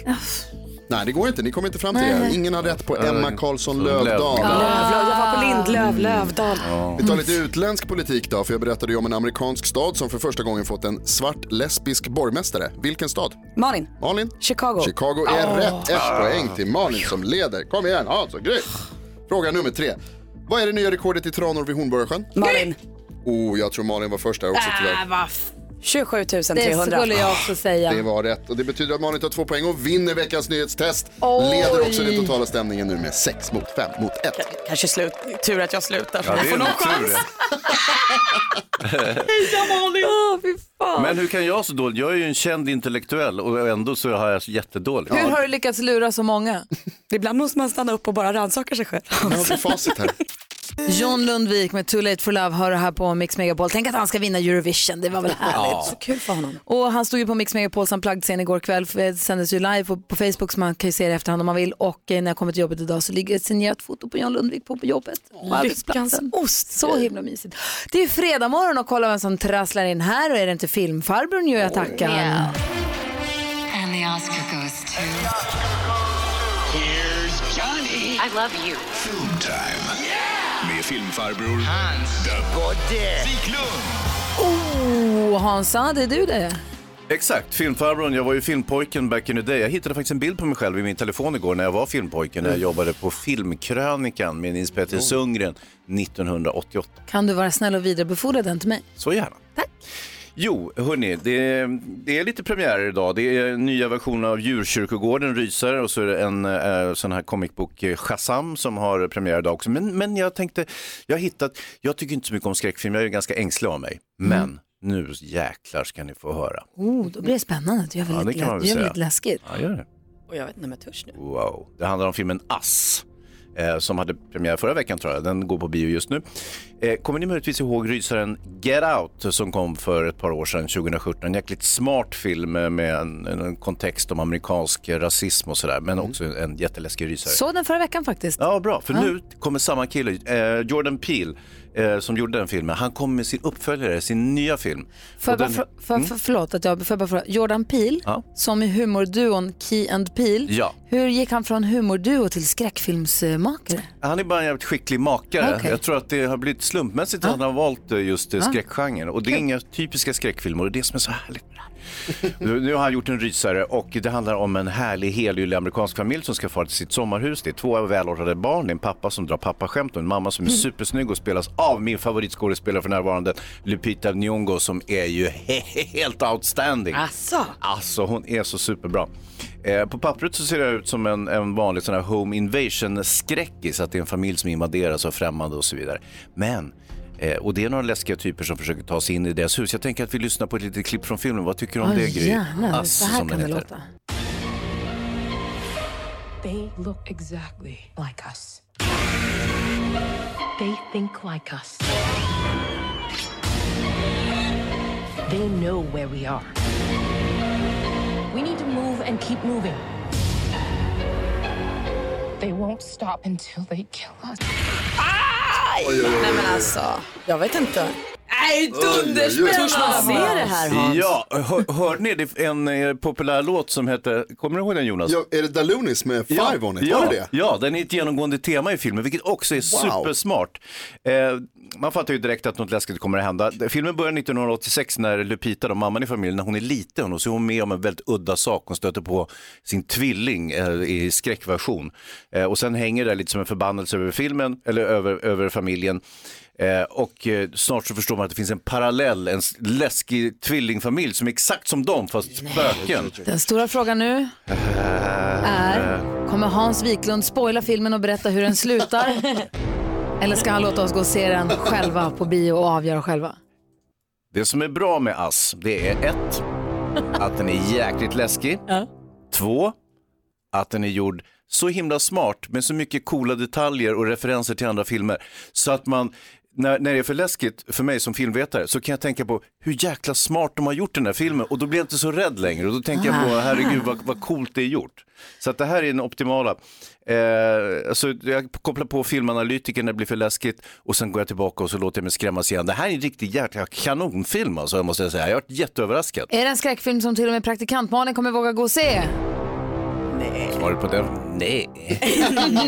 S7: Nej, det går inte. Ni kommer inte fram till det. Ingen har rätt på Emma Karlsson Lövdahl.
S15: Lövlöv, jag var på
S2: Ah.
S15: Lindlöv, Lövdal.
S7: Vi tar lite utländsk politik då, för jag berättade ju om en amerikansk stad som för första gången fått en svart lesbisk borgmästare. Vilken stad?
S15: Malin.
S7: Malin?
S15: Chicago.
S7: Chicago är
S2: Ah.
S15: Åh.
S7: rätt. Ett poäng till Malin som leder. Kom igen, Hans och Gry. Fråga nummer tre. Vad är det nya rekordet i tranor vid Hornborgasjön?
S15: Malin.
S7: Oh, jag tror Malin var först där också
S2: Äh,
S7: tyvärr.
S15: vad
S2: 27
S15: 300.
S7: Det skulle jag också
S1: säga.
S7: Det var rätt och det betyder att Malin tar två poäng och vinner veckans nyhetstest.
S2: Oj.
S7: Leder också den totala stämningen nu med 6 mot 5 mot 1.
S2: Kanske slut. tur att jag slutar
S7: Ja, det är
S2: jag får någon
S7: nog tur
S2: chans.
S5: Heja Malin!
S3: Men hur kan jag så dåligt? Jag är ju en känd intellektuell och ändå så har jag så jättedåligt.
S1: Hur har du lyckats lura så många?
S2: Ibland måste man stanna upp och bara rannsaka sig själv. [LAUGHS]
S1: John Lundvik med Too Late For Love hör det här på Mix Megapol. Tänk att han ska vinna Eurovision, det var väl härligt.
S2: Så kul för honom.
S1: Och han stod ju på Mix Megapols Unplugged-scen igår kväll, för det sändes ju live på, på Facebook så man kan ju se det i efterhand om man vill. Och eh, när jag kommer till jobbet idag så ligger ett signerat foto på John Lundvik på, på jobbet. På arbetsplatsen.
S2: ost.
S1: Så himla mysigt. Det är ju fredag morgon och kolla vem som trasslar in här och är det inte filmfarbrorn
S3: Oh,
S1: gör jag tackar.
S9: Yeah. And the Oscar goes to. Here's Johnny. I love you.
S14: Film time. Med filmfarbror Hans Bodde Wiklund.
S1: Oh, Hansa, det är du det.
S3: Exakt, filmfarbrorn. Jag var ju filmpojken back in the day. Jag hittade faktiskt en bild på mig själv i min telefon igår när jag var filmpojken. När jag jobbade på Filmkrönikan med Nils Petter Sundgren 1988.
S1: Kan du vara snäll och vidarebefordra den till mig?
S3: Så gärna. Tack. Jo, hörni, det, det är lite premiärer idag. Det är nya versioner av Djurkyrkogården, Rysare och så är det en eh, sån här comic book, eh, Shazam, som har premiär idag också. Men, men jag tänkte, jag har hittat, jag tycker inte så mycket om skräckfilm, jag är ganska ängslig av mig. Men nu jäklar ska ni få höra.
S1: Oh, då blir det spännande. Det gör väl
S3: Ja, det
S1: lite,
S3: kan man
S1: lä-
S3: väl
S1: det gör väl
S3: säga.
S1: lite läskigt.
S3: Ja, gör det.
S2: Och jag vet inte om jag törs nu.
S3: Wow. Det handlar om filmen Ass. eh, Som hade premiär förra veckan tror jag. Den går på bio just nu. Eh, Kommer ni möjligtvis ihåg rysaren Get Out som kom för ett par år sedan, 2017? En jäkligt smart film eh, med en, en en kontext om amerikansk rasism och sådär.
S1: Mm.
S3: Men också en jätteläskig rysare.
S1: Såg den förra veckan faktiskt.
S3: Ja, bra. För nu kommer samma kille, eh, Jordan Peele, eh, som gjorde den filmen. Han kommer med sin uppföljare, sin nya film.
S1: Får
S3: Och
S1: jag bara,
S3: den-
S1: frå- för,
S3: Mm.
S1: för, förlåt att jag, får jag bara fråga, Jordan Peele,
S3: Ja.
S1: som i humorduon Key and Peele,
S3: Ja.
S1: hur gick han från humorduo till skräckfilmsmakare?
S3: Han är bara en jävligt skicklig makare.
S1: Okej.
S3: Jag tror att det har blivit slumpmässigt att han har valt eh, just ah.
S1: Ja.
S3: skräckgenren. Och det är inga typiska skräckfilmer och det är det som är så härligt med det här. Nu- Nu har han gjort en rysare och det handlar om en härlig helylle amerikansk familj som ska fara till sitt sommarhus. Det är två välordnade barn, det är en pappa som drar pappaskämt och en mamma som är supersnygg och spelas av min favoritskådespelare för närvarande, Lupita Nyong'o som är ju [LAUGHS] helt outstanding.
S2: Asså.
S3: Alltså hon är så superbra. Eh, på pappret så ser det ut som en, en vanlig sån här home invasion skräckis, att det är en familj som invaderas av främmande och så vidare. Men, eh, och det är några läskiga typer som försöker ta sig in i deras hus. Jag tänker att vi lyssnar på ett litet klipp från filmen. Vad tycker du om
S1: Åh,
S3: det Gry?
S1: jävlar, så
S3: Ass,
S1: här
S3: som
S1: kan
S3: den
S1: det
S3: heter.
S1: låta.
S16: They look exactly like us. They think like us. They know where we are. We need to move and keep moving. They won't stop until they kill us.
S2: Nej men alltså, jag vet inte.
S1: Nej,
S2: dunderspännande!
S1: Törs man se det här Hans?
S3: Ja, hör, hörde ni? Det är en eh, populär låt som heter, kommer du ihåg den Jonas?
S7: Ja, är det Dalunis med Five on it?
S3: Ja,
S7: Var det det?
S3: ja, den är ett genomgående tema i filmen, vilket också är supersmart. Eh, man fattar ju direkt att något läskigt kommer att hända. Filmen börjar 1986 när Lupita, då, mamman i familjen, när hon är liten och så är hon med om en väldigt udda sak. Hon stöter på sin tvilling eh, i skräckversion. Eh, och sen hänger det lite som en förbannelse över filmen, eller över, över familjen. Eh, och eh, snart så förstår man att det finns en parallell, en s- läskig tvillingfamilj som är exakt som dem, fast spöken.
S1: Den stora frågan nu är, kommer Hans Wiklund spoila filmen och berätta hur den slutar?
S3: [LAUGHS]
S1: Eller ska han låta oss gå och se den själva på bio och avgöra själva?
S3: Det som är bra med Ass, det är ett, att den är jäkligt läskig. Två, att den är gjord så himla smart med så mycket coola detaljer och referenser till andra filmer. Så att man, när, när det är för läskigt för mig som filmvetare så kan jag tänka på hur jäkla smart de har gjort den här filmen och då blir jag inte så rädd längre och då tänker jag på
S17: Ah.
S3: herregud vad, vad coolt det är gjort. Så att det här är den optimala. Eh, alltså, jag kopplar på filmanalytiker när det blir för läskigt och sen går jag tillbaka och så låter jag mig skrämmas igen. Det här är en riktig jäkla kanonfilm alltså, måste jag säga. Jag har varit jätteöverraskad.
S1: Är det en skräckfilm som till och med praktikant Malin kommer våga gå och se? Nej.
S3: Svaret på den? Nej.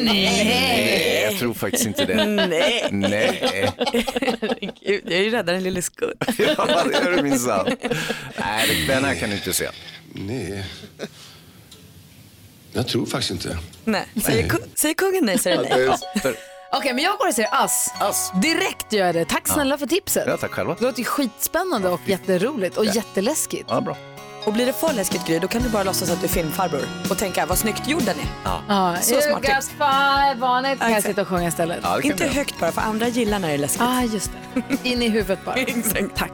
S3: Nej, jag tror faktiskt inte det.
S2: Nej. [LAUGHS]
S3: Nej,
S2: Gud, jag är ju räddare än lille Skutt.
S3: ja, det är det minsann. Nej, den här kan du inte se.
S14: Nej. Jag tror faktiskt inte.
S2: Nej. Säger, ku- säger kungen nej så är det nej.
S1: Okej, men jag går och säger ass. Direkt gör jag det. Tack
S3: Ja.
S1: snälla för tipset.
S3: Ja, tack själva.
S1: Det låter ju skitspännande och jätteroligt och jätteläskigt.
S3: Ja, bra.
S2: Och blir det för läskigt Gry, då kan du bara låtsas att du är filmfarbror och tänka vad snyggt gjord den är.
S1: Ja,
S2: Så
S1: you
S2: smart
S1: got
S2: tips.
S1: five on it. Kan jag sitta och sjunga istället?
S2: Inte högt bara, för andra gillar när det är läskigt.
S1: Ah, just det. In i huvudet
S2: [LAUGHS]
S1: bara.
S2: Tack.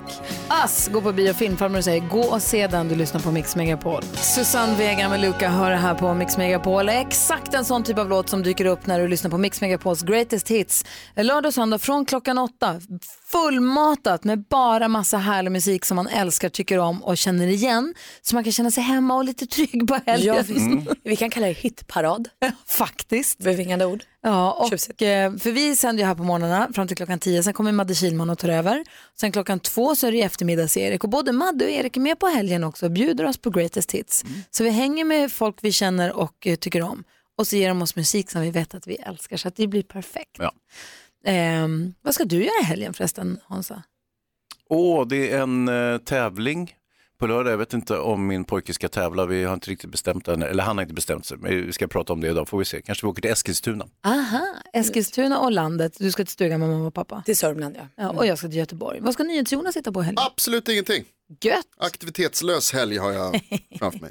S1: Ass, gå på bio och filmfarmor och säger gå och se den du lyssnar på Mix Megapol. Susanne Vega med Luca hör det här på Mix Megapol. Exakt en sån typ av låt som dyker upp när du lyssnar på Mix Megapols greatest hits. Lördag och söndag från klockan åtta. Fullmatat med bara massa härlig musik som man älskar, tycker om och känner igen. Så man kan känna sig hemma och lite trygg på helgen.
S2: Ja, visst. Vi kan kalla det hitparad.
S1: [LAUGHS] Faktiskt.
S2: Bevingande ord.
S1: Ja, och, eh, för vi sänder ju här på morgnarna fram till klockan 10, sen kommer Madde Kilman och tar över. Sen klockan två så är det eftermiddags-Erik och både Madde och Erik är med på helgen också och bjuder oss på greatest hits. Så vi hänger med folk vi känner och eh, tycker om och så ger de oss musik som vi vet att vi älskar så att det blir perfekt.
S3: Ja.
S1: Ehm, vad ska du göra i helgen förresten Hansa?
S3: Åh, det är en eh, tävling på lördag. Jag vet inte om min pojke ska tävla. Vi har inte riktigt bestämt än. Eller han har inte bestämt sig. Men vi ska prata om det idag. Får vi se. Kanske vi åker till Eskilstuna.
S1: Aha, Eskilstuna och landet. Du ska till stugan med mamma och pappa.
S2: Till Sörmland ja.
S1: ja och jag ska till Göteborg. Vad ska NyhetsJonas sitta på i helgen?
S7: Absolut ingenting.
S1: Gött.
S7: Aktivitetslös helg har jag framför mig.